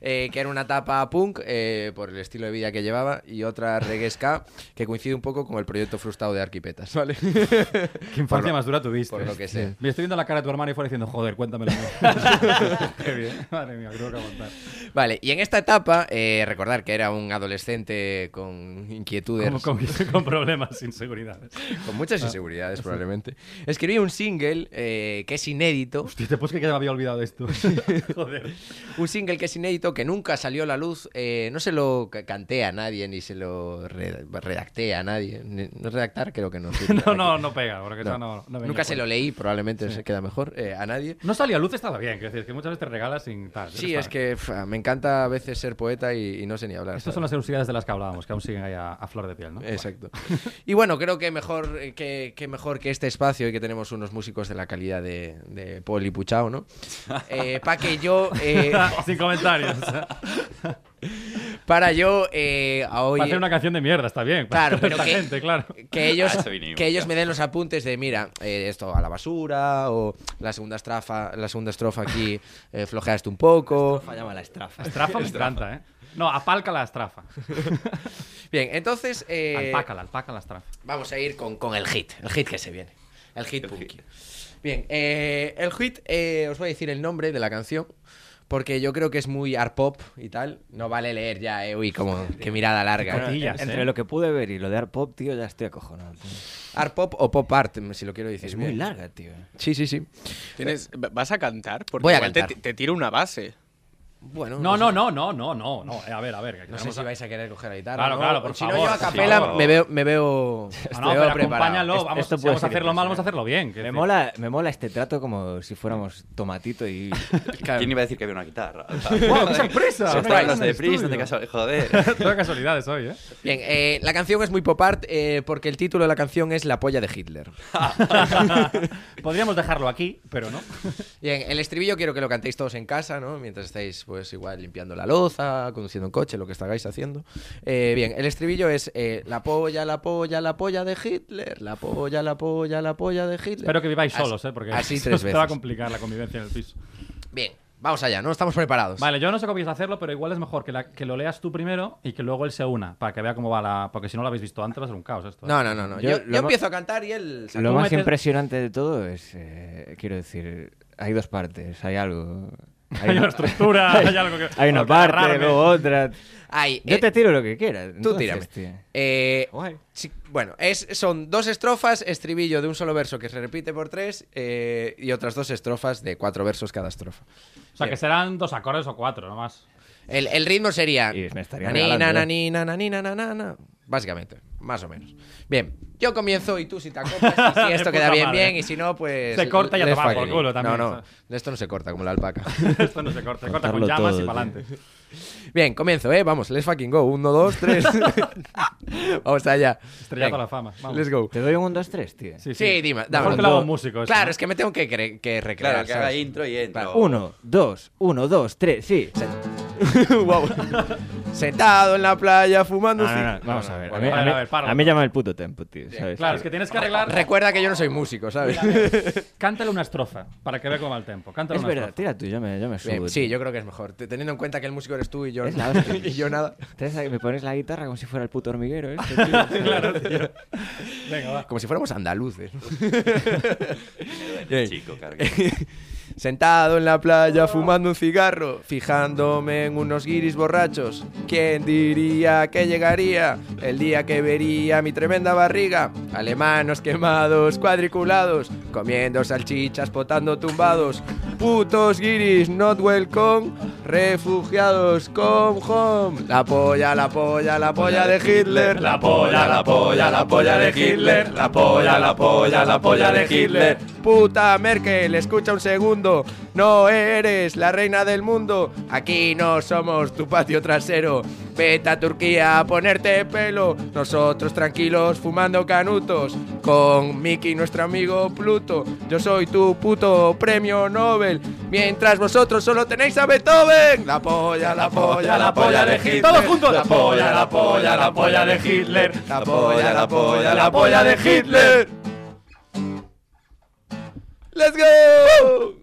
Speaker 1: eh, que era una etapa punk eh, por el estilo de vida que llevaba y otra reggae ska que coincide un poco con el proyecto frustrado de Arquipetas, ¿vale?
Speaker 2: Qué infancia más dura tuviste.
Speaker 1: por lo que
Speaker 2: Hostia.
Speaker 1: sé.
Speaker 2: Me estoy viendo la cara de tu hermano y fuera diciendo, joder, cuéntamelo. a mí". Qué bien. Madre mía, creo que aguantar.
Speaker 1: Vale, y en esta etapa, eh, recordar que era un adolescente con inquietudes...
Speaker 2: Como Ah. con, con problemas, inseguridades.
Speaker 1: Con muchas inseguridades, probablemente. Escribí un single eh, que es inédito.
Speaker 2: Hostia, te pues que ya me había olvidado de esto. joder.
Speaker 1: Un single que es inédito, que nunca salió a la luz. eh, no se lo ca- canté a nadie, ni se lo re- redacté a nadie. Ni- No redactar, creo que no. sirve
Speaker 2: No, pues.
Speaker 1: aquí.
Speaker 2: no, no pega, porque eso no, no venía
Speaker 1: Nunca se
Speaker 2: cuenta.
Speaker 1: lo leí, probablemente se queda mejor eh, a nadie.
Speaker 2: No salía a luz, estaba bien. Quiero decir, que muchas veces te regalas sin tal.
Speaker 1: Sí, es que pf, me encanta a veces ser poeta y, y no sé ni hablar. ¿sabes?
Speaker 2: Estas son las curiosidades de las que hablábamos, que aún siguen ahí a, a flor de piel, ¿no?
Speaker 1: Exacto. Y bueno, creo que mejor eh, que, que mejor que este espacio y que tenemos unos músicos de la calidad de, de Paul y Puchao, ¿no? para que yo eh,
Speaker 2: Ah, sin comentarios.
Speaker 1: para yo eh, a hoy
Speaker 2: Para hacer una canción de mierda, está bien.
Speaker 1: Claro, pero
Speaker 2: Esta
Speaker 1: que-
Speaker 2: gente, claro.
Speaker 1: que ellos
Speaker 3: A eso vinimos,
Speaker 1: que ellos
Speaker 3: ya.
Speaker 1: me den los apuntes de mira eh, esto a la basura o la segunda estrofa la segunda estrofa aquí eh, flojeaste un poco
Speaker 2: Estrafa me encanta, ¿eh? No, apalca la estrafa.
Speaker 1: bien entonces eh,
Speaker 2: Alpaca, la alpaca la estrafa.
Speaker 1: vamos a ir con, con el hit el hit que se viene el hit
Speaker 3: El
Speaker 1: punky.
Speaker 3: hit.
Speaker 1: bien eh, el hit eh, os voy a decir el nombre de la canción porque yo creo que es muy art pop y tal no vale leer ya eh, uy como qué mirada larga
Speaker 2: Cotillas,
Speaker 5: Entre
Speaker 2: ¿eh?
Speaker 5: lo que pude ver y lo de Art Pop, tío, ya estoy acojonado. tío.
Speaker 1: art pop o pop art si lo quiero decir
Speaker 5: Es muy
Speaker 1: bien.
Speaker 5: larga, tío.
Speaker 1: sí sí sí
Speaker 4: ¿Tienes- ¿Vas a cantar? Porque
Speaker 1: Voy a
Speaker 4: igual te-
Speaker 1: cantar.
Speaker 4: Te, tiro una base.
Speaker 1: bueno pues
Speaker 2: No,
Speaker 1: sé.
Speaker 2: no, no, no, no, no, no. Eh, a ver, a ver. que
Speaker 1: No sé
Speaker 2: queremos
Speaker 1: si
Speaker 2: a-
Speaker 1: vais a querer coger la guitarra.
Speaker 2: Claro,
Speaker 1: ¿no?
Speaker 2: claro,
Speaker 1: O
Speaker 2: por
Speaker 1: si no,
Speaker 2: favor,
Speaker 1: yo a
Speaker 2: por
Speaker 1: capela
Speaker 3: favor.
Speaker 1: me veo, me veo, me
Speaker 2: Ah, no,
Speaker 1: veo
Speaker 2: pero
Speaker 1: preparado.
Speaker 2: acompáñalo,
Speaker 5: Es-
Speaker 2: vamos,
Speaker 5: esto
Speaker 2: si
Speaker 5: puede
Speaker 2: vamos a
Speaker 5: ser
Speaker 2: hacerlo mal, vamos a
Speaker 5: interesante.
Speaker 2: hacerlo bien. quiero
Speaker 5: Me
Speaker 2: decir.
Speaker 5: mola, me mola este trato como si fuéramos tomatito y...
Speaker 1: Claro.
Speaker 3: ¿Quién iba a decir que había una guitarra?
Speaker 2: ¡Guau, qué sorpresa!
Speaker 3: Si
Speaker 2: Una
Speaker 3: estaban
Speaker 2: guitarra
Speaker 3: los
Speaker 2: en el
Speaker 3: de Priest,
Speaker 2: estudio.
Speaker 3: no te caso- joder.
Speaker 2: Todo casualidades hoy, ¿eh?
Speaker 1: Bien, eh, la canción es muy pop art eh, porque el título de la canción es La polla de Hitler. Ah.
Speaker 2: Podríamos dejarlo aquí, pero no.
Speaker 1: Bien, el estribillo quiero que lo cantéis todos en casa, ¿no? Mientras estáis, pues, igual limpiando la loza, conduciendo un coche, lo que estáis haciendo. Eh, bien, el estribillo es eh, La polla, la polla, la polla de Hitler. La polla, la polla, la polla de Hitler.
Speaker 2: Espero que viváis
Speaker 1: Así-
Speaker 2: solos, ¿eh? Porque
Speaker 1: así
Speaker 2: se
Speaker 1: tres
Speaker 2: os va a
Speaker 1: veces. Pues-
Speaker 2: complicar la convivencia en el piso.
Speaker 1: Bien, vamos allá, ¿no? Estamos preparados.
Speaker 2: Vale, yo no sé cómo vais a hacerlo, pero igual es mejor que, la- que lo leas tú primero y que luego él se una, para que vea cómo va la... Porque si no lo habéis visto antes va a ser un caos esto. ¿eh?
Speaker 1: No, no, no, no.
Speaker 5: Yo
Speaker 1: Yo,
Speaker 5: lo
Speaker 1: yo
Speaker 5: ma-
Speaker 1: empiezo a cantar y él...
Speaker 5: Lo
Speaker 2: tú
Speaker 5: más
Speaker 2: metes-
Speaker 5: impresionante de todo es, eh, quiero decir, hay dos partes, hay algo.
Speaker 2: Hay una estructura, hay algo que...
Speaker 5: Hay una
Speaker 2: algo que
Speaker 5: parte,
Speaker 2: agarrarme.
Speaker 5: luego otra.
Speaker 1: Ay,
Speaker 5: Yo
Speaker 1: eh,
Speaker 5: te tiro lo que quieras.
Speaker 1: Tú
Speaker 5: entonces,
Speaker 1: tírame.
Speaker 5: tío.
Speaker 1: Eh,
Speaker 5: Guay.
Speaker 1: sí, bueno, es, son dos estrofas, estribillo de un solo verso que se repite por tres eh, y otras dos estrofas de cuatro versos cada estrofa.
Speaker 2: O sea, que serán dos acordes o cuatro, nomás.
Speaker 1: El, el ritmo sería.
Speaker 5: Y me estaría
Speaker 1: Nani,
Speaker 5: regalando,
Speaker 1: na,
Speaker 5: ¿eh?
Speaker 1: nani, na, nani, na, na, na, na. Básicamente, más o menos. Bien, yo comienzo y tú si te acoplas, y si
Speaker 8: De
Speaker 1: esto queda
Speaker 8: puta
Speaker 1: bien,
Speaker 8: madre.
Speaker 1: bien, y si no, pues.
Speaker 8: Se corta y a
Speaker 1: let's
Speaker 8: tomar por
Speaker 1: fucking-
Speaker 8: culo también,
Speaker 1: No, no,
Speaker 8: ¿sabes?
Speaker 1: esto no se corta como la alpaca.
Speaker 8: Esto no se corta, se corta con
Speaker 5: Cortarlo
Speaker 8: llamas
Speaker 5: todo,
Speaker 8: y
Speaker 5: tío.
Speaker 8: para adelante.
Speaker 1: bien, comienzo, eh, vamos, let's fucking go. Uno, dos, tres. vamos allá.
Speaker 8: Estrellado
Speaker 1: Venga,
Speaker 8: a la fama. Vamos.
Speaker 1: Let's go.
Speaker 5: Te doy un 2, 3, tío.
Speaker 8: Sí,
Speaker 1: Sí, dime, dame.
Speaker 8: Mejor que lo haga un músico.
Speaker 2: este,
Speaker 8: esto,
Speaker 1: Claro,
Speaker 8: ¿no?
Speaker 1: es que me tengo que, cre- que recrear.
Speaker 3: Claro, que haga
Speaker 1: ¿sabes?
Speaker 3: intro y entro.
Speaker 5: 1, 2, 1, 2, 3, sí.
Speaker 1: Sentado en la playa fumando
Speaker 5: No,
Speaker 1: un
Speaker 5: no, no,
Speaker 1: cigarro.
Speaker 5: vamos
Speaker 1: No,
Speaker 5: a
Speaker 1: no,
Speaker 5: ver. A
Speaker 1: bueno,
Speaker 5: mí,
Speaker 8: vale,
Speaker 5: a mí-
Speaker 8: a ver, páralo.
Speaker 5: a mí llama el puto tempo, tío. ¿sabes?
Speaker 2: Claro, es que tienes que arreglar.
Speaker 1: Recuerda que yo no soy músico, ¿sabes?
Speaker 2: Cántale una estrofa para que vea cómo va el tempo. Cántale
Speaker 5: Es
Speaker 2: una
Speaker 5: verdad,
Speaker 2: estrofa.
Speaker 5: tira tú, yo me, yo me subo.
Speaker 1: Bien,
Speaker 5: tío.
Speaker 1: Eh, sí, yo creo que es mejor. Te- Teniendo en cuenta que el músico eres tú y yo,
Speaker 5: Es la hostia.
Speaker 1: y yo nada.
Speaker 5: Entonces, ahí me pones la guitarra como si fuera el puto hormiguero, este, tío.
Speaker 2: Venga, va.
Speaker 1: Como si fuéramos andaluces. Bien.
Speaker 3: Chico, claro.
Speaker 1: Sentado en la playa fumando un cigarro, fijándome en unos guiris borrachos. ¿Quién diría que llegaría el día que vería mi tremenda barriga? Alemanos quemados, cuadriculados, comiendo salchichas, potando tumbados. Putos guiris, not welcome, refugiados, come home. La polla, la polla, la polla de Hitler.
Speaker 3: La polla, la polla, la polla de Hitler. La polla, la polla, la polla de Hitler.
Speaker 1: Puta Merkel, escucha un segundo. No eres la reina del mundo. Aquí no somos tu patio trasero. Vete a Turquía a ponerte pelo. Nosotros tranquilos fumando canutos. Con Mickey, nuestro amigo Pluto. Yo soy tu puto premio Nobel. Mientras vosotros solo tenéis a Beethoven. La polla, la polla, la polla de Hitler.
Speaker 8: Todos juntos.
Speaker 1: La polla, la polla, la polla de
Speaker 8: Hitler.
Speaker 1: La polla, la polla, la polla de Hitler. ¡Let's go!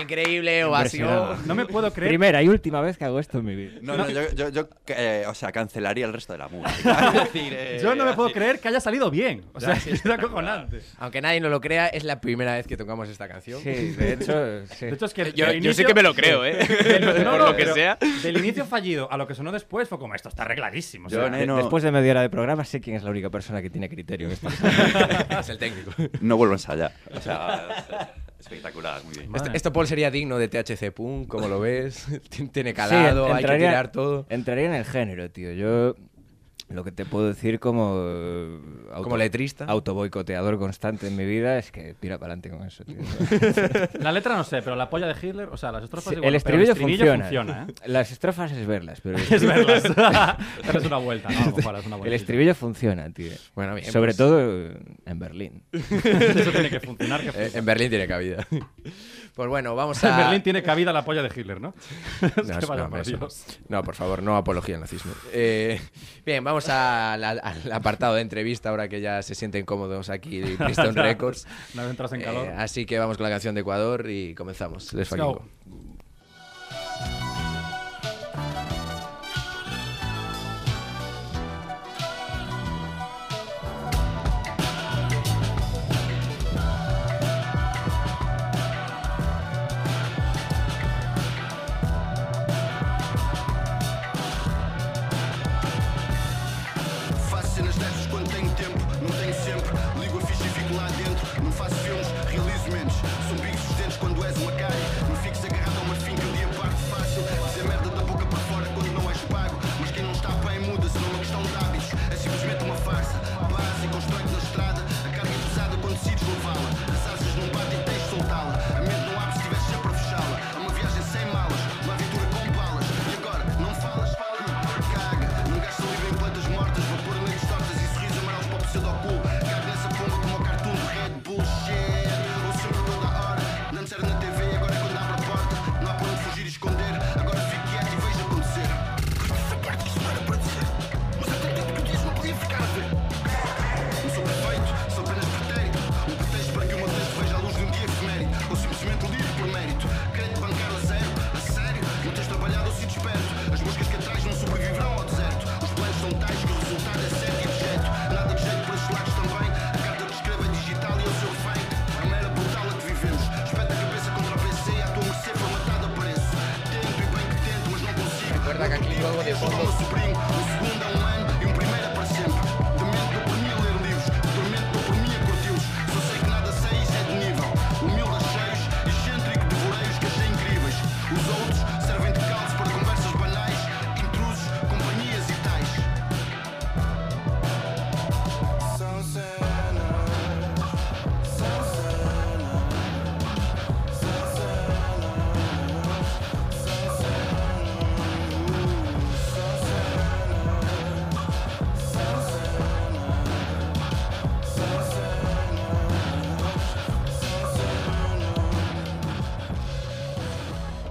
Speaker 1: Increíble ovación.
Speaker 2: No me puedo creer.
Speaker 5: Primera y última vez que hago esto en mi vida.
Speaker 3: No, no, yo, yo, yo, eh, o sea, cancelaría el resto de la música. Es decir, eh,
Speaker 2: Yo no me puedo
Speaker 3: así.
Speaker 2: creer que haya salido bien. O sea, es acojonante.
Speaker 1: Aunque nadie no lo crea, es la primera vez que tocamos esta canción.
Speaker 5: Sí, de hecho, sí.
Speaker 2: De hecho, es que el-
Speaker 4: Yo,
Speaker 2: el
Speaker 4: yo
Speaker 2: inicio-
Speaker 4: sí que me lo creo, ¿eh?
Speaker 2: No,
Speaker 4: Por
Speaker 2: no,
Speaker 4: lo que
Speaker 2: pero
Speaker 4: sea.
Speaker 2: Del inicio fallido a lo que sonó después fue como esto está arregladísimo. o
Speaker 3: Yo,
Speaker 2: sea,
Speaker 3: nene,
Speaker 5: De-
Speaker 3: no-
Speaker 5: Después de media hora de programa, sé quién es la única persona que tiene criterio en esta sala.
Speaker 1: es el técnico. Este,
Speaker 3: No vuelvo a ensayar. O sea, espectacular, muy bien.
Speaker 1: Esto,
Speaker 2: Madre.
Speaker 1: esto, Paul sería digno de THC Punk, como lo ves. Tien- Tiene calado,
Speaker 5: Sí,
Speaker 1: hay que
Speaker 5: entraría-
Speaker 1: tirar todo.
Speaker 5: Entraría en el género, tío. Yo lo que te puedo decir como eh, auto,
Speaker 1: Como letrista.
Speaker 5: autoboicoteador constante en mi vida es que tira para adelante con eso, tío.
Speaker 2: La letra no sé, pero la polla de Hitler, o sea, las
Speaker 5: Sí,
Speaker 2: estrofas igual,
Speaker 5: el
Speaker 2: pero
Speaker 5: estribillo funciona.
Speaker 2: funciona ¿eh?
Speaker 5: Las estrofas es verlas, pero el
Speaker 2: Es
Speaker 5: estribillo,
Speaker 2: verdad. Pero es una vuelta, ¿no? A lo mejor es una
Speaker 5: el
Speaker 2: vueltecita.
Speaker 5: estribillo funciona, tío.
Speaker 1: Bueno, bien,
Speaker 5: Sobre
Speaker 1: pues.
Speaker 5: todo eh, en Berlín.
Speaker 2: Eso tiene que funcionar. que
Speaker 1: Eh,
Speaker 2: funcione.
Speaker 1: en Berlín tiene cabida. Pues bueno, vamos a.
Speaker 2: En Berlín tiene cabida la polla de Hitler, ¿no? Es que
Speaker 1: No,
Speaker 2: vaya
Speaker 1: no,
Speaker 2: por
Speaker 1: eso no.
Speaker 2: Dios.
Speaker 1: No, por favor, no apología al nazismo. Eh, bien, vamos a la- al apartado de entrevista ahora que ya se sienten cómodos aquí de Pistón Records.
Speaker 2: Una vez entras en
Speaker 1: Eh,
Speaker 2: calor.
Speaker 1: así que vamos con la canción de Ecuador y comenzamos. Les
Speaker 2: Let's go.
Speaker 1: fucking go.
Speaker 7: Faço cenas dessas quando tenho tempo, não tenho sempre. Ligo a ficha e fico lá dentro. Não faço filmes, realizo menos. São bicos sustentes quando és uma cara. Não fiques agarrado a uma fim que um dia parte fácil. Dizer merda da boca para fora quando não és pago. Mas quem não está bem muda-se, não é uma questão de hábitos. É simplesmente uma farsa. Base e constrói na estrada. A carga é pesada quando decides levá-la. As asas não batem e tens de soltá-la. A mente não abre se estiveres sempre a fechá-la. É uma viagem sem malas, uma aventura com balas. E agora, não falas, fala, caga. Não gasta livre em plantas mortas, vapor negros tortas e sorriso amarelos para o seu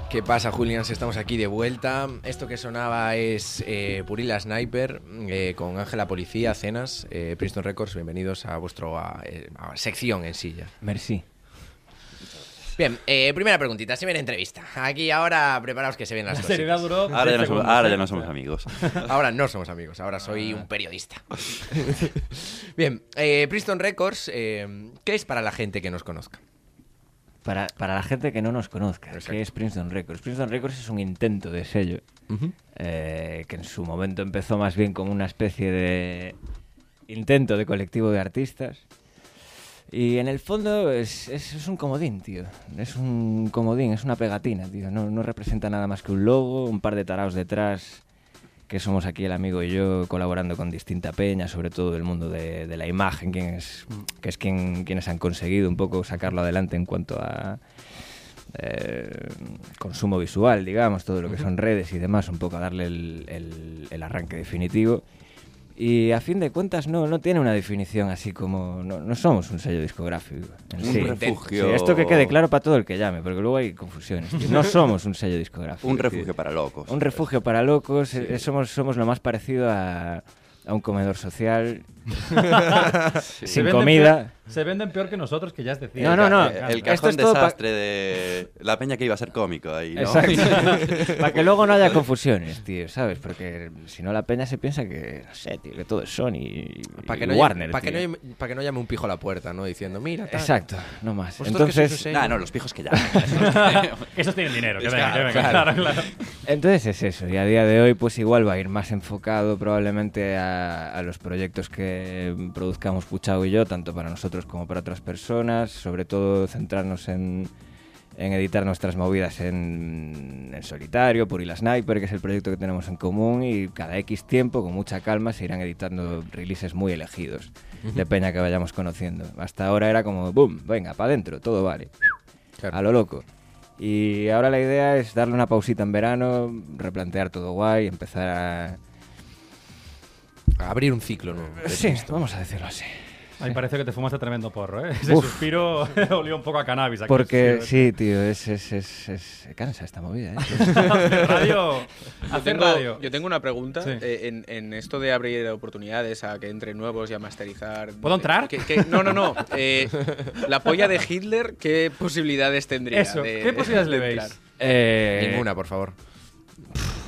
Speaker 1: ¿Qué pasa, Julians? Estamos aquí de vuelta. Esto que sonaba es eh, Purila Sniper eh, con Ángela Policía, Cenas, eh, Princeton Records. Bienvenidos a vuestro a, eh, a sección en silla.
Speaker 5: Merci.
Speaker 1: Bien, eh, primera preguntita, si viene entrevista. Aquí ahora preparaos que se vienen las
Speaker 2: seriedad
Speaker 1: cosas.
Speaker 2: duró.
Speaker 3: Ahora ya,
Speaker 2: 10
Speaker 3: no somos,
Speaker 2: segundos,
Speaker 3: ahora ya
Speaker 2: ¿eh?
Speaker 3: no somos amigos.
Speaker 1: Ahora no somos amigos, ahora
Speaker 5: Ah.
Speaker 1: soy un periodista. Bien, eh, Princeton Records, eh, ¿qué es para la gente que nos conozca?
Speaker 5: Para, para la gente que no nos conozca,
Speaker 1: Exacto.
Speaker 5: ¿qué es Princeton Records? Princeton Records es un intento de sello eh, que en su momento empezó más bien como una especie de intento de colectivo de artistas. Y en el fondo es, es- es un comodín, tío. Es un comodín, es una pegatina, tío. No, no representa nada más que un logo, un par de taraos detrás, que somos aquí el amigo y yo colaborando con distinta peña, sobre todo del mundo de, de la imagen, quien es, que es quien, quienes han conseguido un poco sacarlo adelante en cuanto a eh, consumo visual, digamos, todo lo que son redes y demás, un poco a darle el, el- el arranque definitivo. Y a fin de cuentas no, no tiene una definición así como... No, no somos un sello discográfico. en
Speaker 3: Un
Speaker 5: sí.
Speaker 3: refugio.
Speaker 5: Sí, esto que quede claro para todo el que llame, porque luego hay confusiones. tío. No somos un sello discográfico.
Speaker 3: Un
Speaker 5: tío.
Speaker 3: refugio para locos.
Speaker 5: Un refugio para locos. eh, Somos, somos lo más parecido a, a un comedor social.
Speaker 8: Se
Speaker 5: sin
Speaker 8: venden
Speaker 5: comida.
Speaker 8: peor- se venden peor que nosotros, que ya es decir.
Speaker 5: No, no, no.
Speaker 3: Eh, El
Speaker 5: Esto
Speaker 3: cajón
Speaker 5: es todo pa-
Speaker 3: desastre de la peña que iba a ser cómico ahí, ¿no?
Speaker 5: Exacto. para que luego no haya confusiones, tío, ¿sabes? Porque si no la peña se piensa que, no sé, tío, que todo es Sony y,
Speaker 1: Para que,
Speaker 5: y
Speaker 1: no llame-
Speaker 5: Warner,
Speaker 1: pa' que no
Speaker 5: tío.
Speaker 1: llame- pa' que no llame un pijo a la puerta, ¿no? Diciendo, mira, tal".
Speaker 5: Exacto, no más.
Speaker 1: Vosotros que sois
Speaker 5: Entonces,
Speaker 1: un sello.
Speaker 3: Nah, no, los pijos que ya.
Speaker 8: Esos tienen dinero, que
Speaker 3: Es
Speaker 8: venga, que
Speaker 3: claro,
Speaker 8: venga.
Speaker 1: claro.
Speaker 8: claro, claro.
Speaker 5: Entonces es eso, y a día de hoy pues igual va a ir más enfocado probablemente a, a los proyectos que mm, produzcamos Puchao y yo, tanto para nosotros como para otras personas, sobre todo centrarnos en, en editar nuestras movidas en, en solitario, por la Sniper, que es el proyecto que tenemos en común, y cada X tiempo, con mucha calma, se irán editando releases muy elegidos de peña que vayamos conociendo. Hasta ahora era como, boom, venga, para adentro, todo vale
Speaker 1: Claro.
Speaker 5: a lo loco. Y ahora la idea es darle una pausita en verano, replantear todo guay, empezar a...
Speaker 1: Abrir un ciclo nuevo.
Speaker 5: Sí, vamos a decirlo así.
Speaker 8: Ay, parece que te fumaste tremendo porro, ¿eh? Ese
Speaker 5: Uf.
Speaker 8: suspiro olió un poco a cannabis. aquí,
Speaker 5: Porque
Speaker 8: sí.
Speaker 5: sí, tío, es, es, es, es- se cansa esta movida. ¿eh?
Speaker 8: Hacer radio.
Speaker 4: Yo
Speaker 8: Hacer
Speaker 4: tengo,
Speaker 8: radio.
Speaker 4: yo tengo una pregunta
Speaker 8: Sí.
Speaker 4: eh, en, en esto de abrir oportunidades a que entre nuevos y a masterizar.
Speaker 8: ¿Puedo entrar?
Speaker 4: Que- que- no, no, no. eh, la polla de Hitler, ¿qué posibilidades tendría?
Speaker 8: Eso,
Speaker 4: de-
Speaker 8: ¿qué posibilidades le
Speaker 4: de
Speaker 8: veis?
Speaker 4: entrar?
Speaker 5: Eh,
Speaker 1: Ninguna, por favor.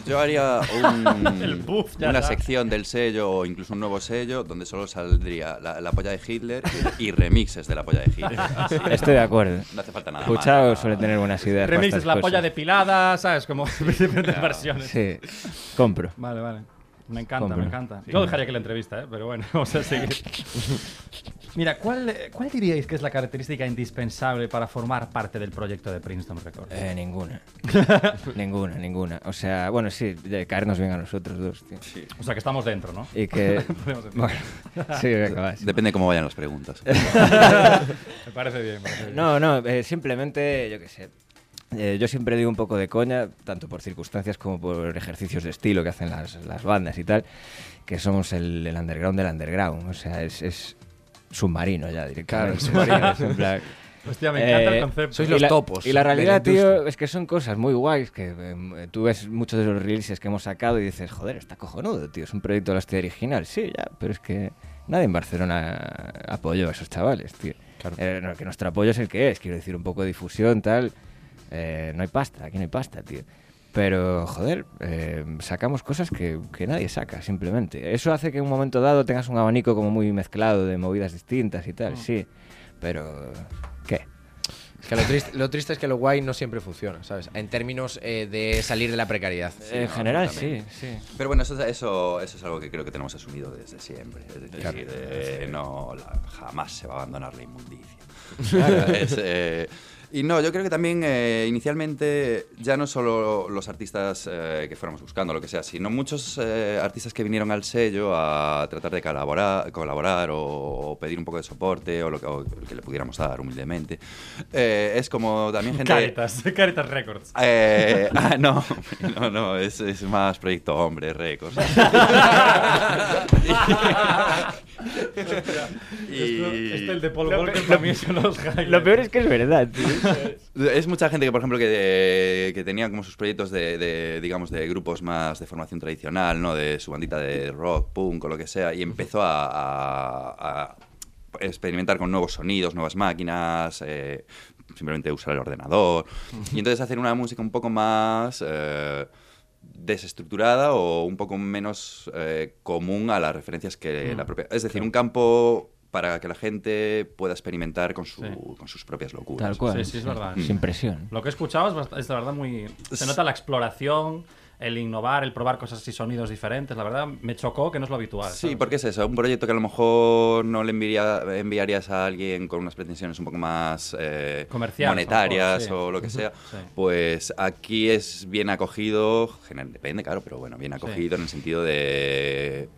Speaker 3: Yo haría un-
Speaker 8: El buff, ya
Speaker 3: una
Speaker 8: está.
Speaker 3: sección del sello o incluso un nuevo sello donde solo saldría la, la polla de Hitler y, y remixes de la polla de Hitler. Así.
Speaker 5: Estoy de acuerdo.
Speaker 3: No hace falta nada. más.
Speaker 5: Puchao suele tener buenas ideas. para
Speaker 8: Remixes,
Speaker 5: estas
Speaker 8: la
Speaker 5: cosas.
Speaker 4: pues,
Speaker 8: polla depilada, ¿sabes? Como diferentes versiones.
Speaker 5: Sí, compro.
Speaker 8: Vale, vale. Me encanta,
Speaker 5: Hombre.
Speaker 8: me encanta. Yo dejaría que la entrevista, ¿eh? pero bueno, vamos a seguir. Mira, ¿cuál, eh, ¿cuál diríais que es la característica indispensable para formar parte del proyecto de Princeton Records?
Speaker 5: Eh, ninguna. ninguna, ninguna. O sea, bueno, sí, de caernos bien a nosotros dos, tío.
Speaker 8: O sea, que estamos dentro, ¿no?
Speaker 5: Y que...
Speaker 8: Podemos decir.
Speaker 5: bueno, sí, venga, va, sí.
Speaker 3: Depende cómo vayan las preguntas.
Speaker 8: Me parece bien. me parece bien.
Speaker 5: No, no, eh, simplemente, yo qué sé. Eh, yo siempre digo un poco de coña, tanto por circunstancias como por ejercicios de estilo que hacen las, las bandas y tal, que somos el, el underground del underground. O sea, es, es submarino ya directamente.
Speaker 1: Claro, submarino.
Speaker 5: Es en plan,
Speaker 8: Hostia, me encanta
Speaker 5: eh,
Speaker 8: el concepto.
Speaker 1: sois
Speaker 5: y
Speaker 1: los
Speaker 5: la-
Speaker 1: topos
Speaker 5: Y la
Speaker 1: de la
Speaker 5: realidad, tío,
Speaker 1: industria.
Speaker 5: es que son cosas muy guays que eh, tú ves muchos de los releases que hemos sacado y dices, joder, está cojonudo, tío, es un proyecto de la hostia original. Sí, ya, pero es que nadie en Barcelona apoyó a esos chavales, tío.
Speaker 1: Claro.
Speaker 5: Eh, no, que nuestro apoyo es el que es, quiero decir, un poco de difusión, tal. Eh, no hay pasta, aquí no hay pasta, tío. Pero, joder, eh, sacamos cosas que, que nadie saca, simplemente. Eso hace que en un momento dado tengas un abanico como muy mezclado de movidas distintas y
Speaker 1: Mm.
Speaker 5: tal, sí. Pero, ¿qué?
Speaker 1: Es que lo triste, lo triste es que lo guay no siempre funciona, ¿sabes? En términos eh, de salir de la precariedad.
Speaker 5: en general, sí, sí.
Speaker 3: Pero bueno, eso, eso, eso es algo que creo que tenemos asumido desde siempre. Es decir, eh, no, la- jamás se va a abandonar la inmundicia. Es, eh, y no, yo creo que también eh, inicialmente ya no solo los artistas eh, que fuéramos buscando, lo que sea, sino muchos eh, artistas que vinieron al sello a tratar de colaborar, colaborar o, o pedir un poco de soporte o lo que, o lo que le pudiéramos dar humildemente. Eh, es como también gente...
Speaker 8: Caritas, Caritas Records.
Speaker 3: Eh, ah, no, no, no, es, es más proyecto hombre, récords. Y-
Speaker 8: Este, el de Paul Walker para mí son los highlights.
Speaker 5: Lo peor es que es verdad, tío.
Speaker 3: Es mucha gente que, por ejemplo, que, que tenía como sus proyectos de, de, digamos, de grupos más de formación tradicional, ¿no? De su bandita de rock, punk o lo que sea, y empezó a, a- a experimentar con nuevos sonidos, nuevas máquinas, eh, simplemente usar el ordenador. Y entonces hacer una música un poco más... eh, desestructurada o un poco menos eh, común a las referencias que la propia... Es decir, un campo para que la gente pueda experimentar con, su-
Speaker 8: Sí.
Speaker 3: con sus propias locuras.
Speaker 5: Tal cual.
Speaker 8: Sí, sí, es verdad.
Speaker 5: Sin presión.
Speaker 8: Lo que he escuchado es, bast- es la verdad muy... Se nota la exploración, el innovar, el probar cosas y sonidos diferentes. La verdad, me chocó que no es lo habitual.
Speaker 3: Sí,
Speaker 8: ¿sabes?
Speaker 3: porque es eso, un proyecto que a lo mejor no le enviaría- enviarías a alguien con unas pretensiones un poco más eh,
Speaker 8: Comerciales, a lo
Speaker 3: monetarias
Speaker 8: mejor, sí.
Speaker 3: o lo que sea,
Speaker 8: Sí.
Speaker 3: pues aquí es bien acogido, gener- depende, claro, pero bueno, bien acogido en el sentido de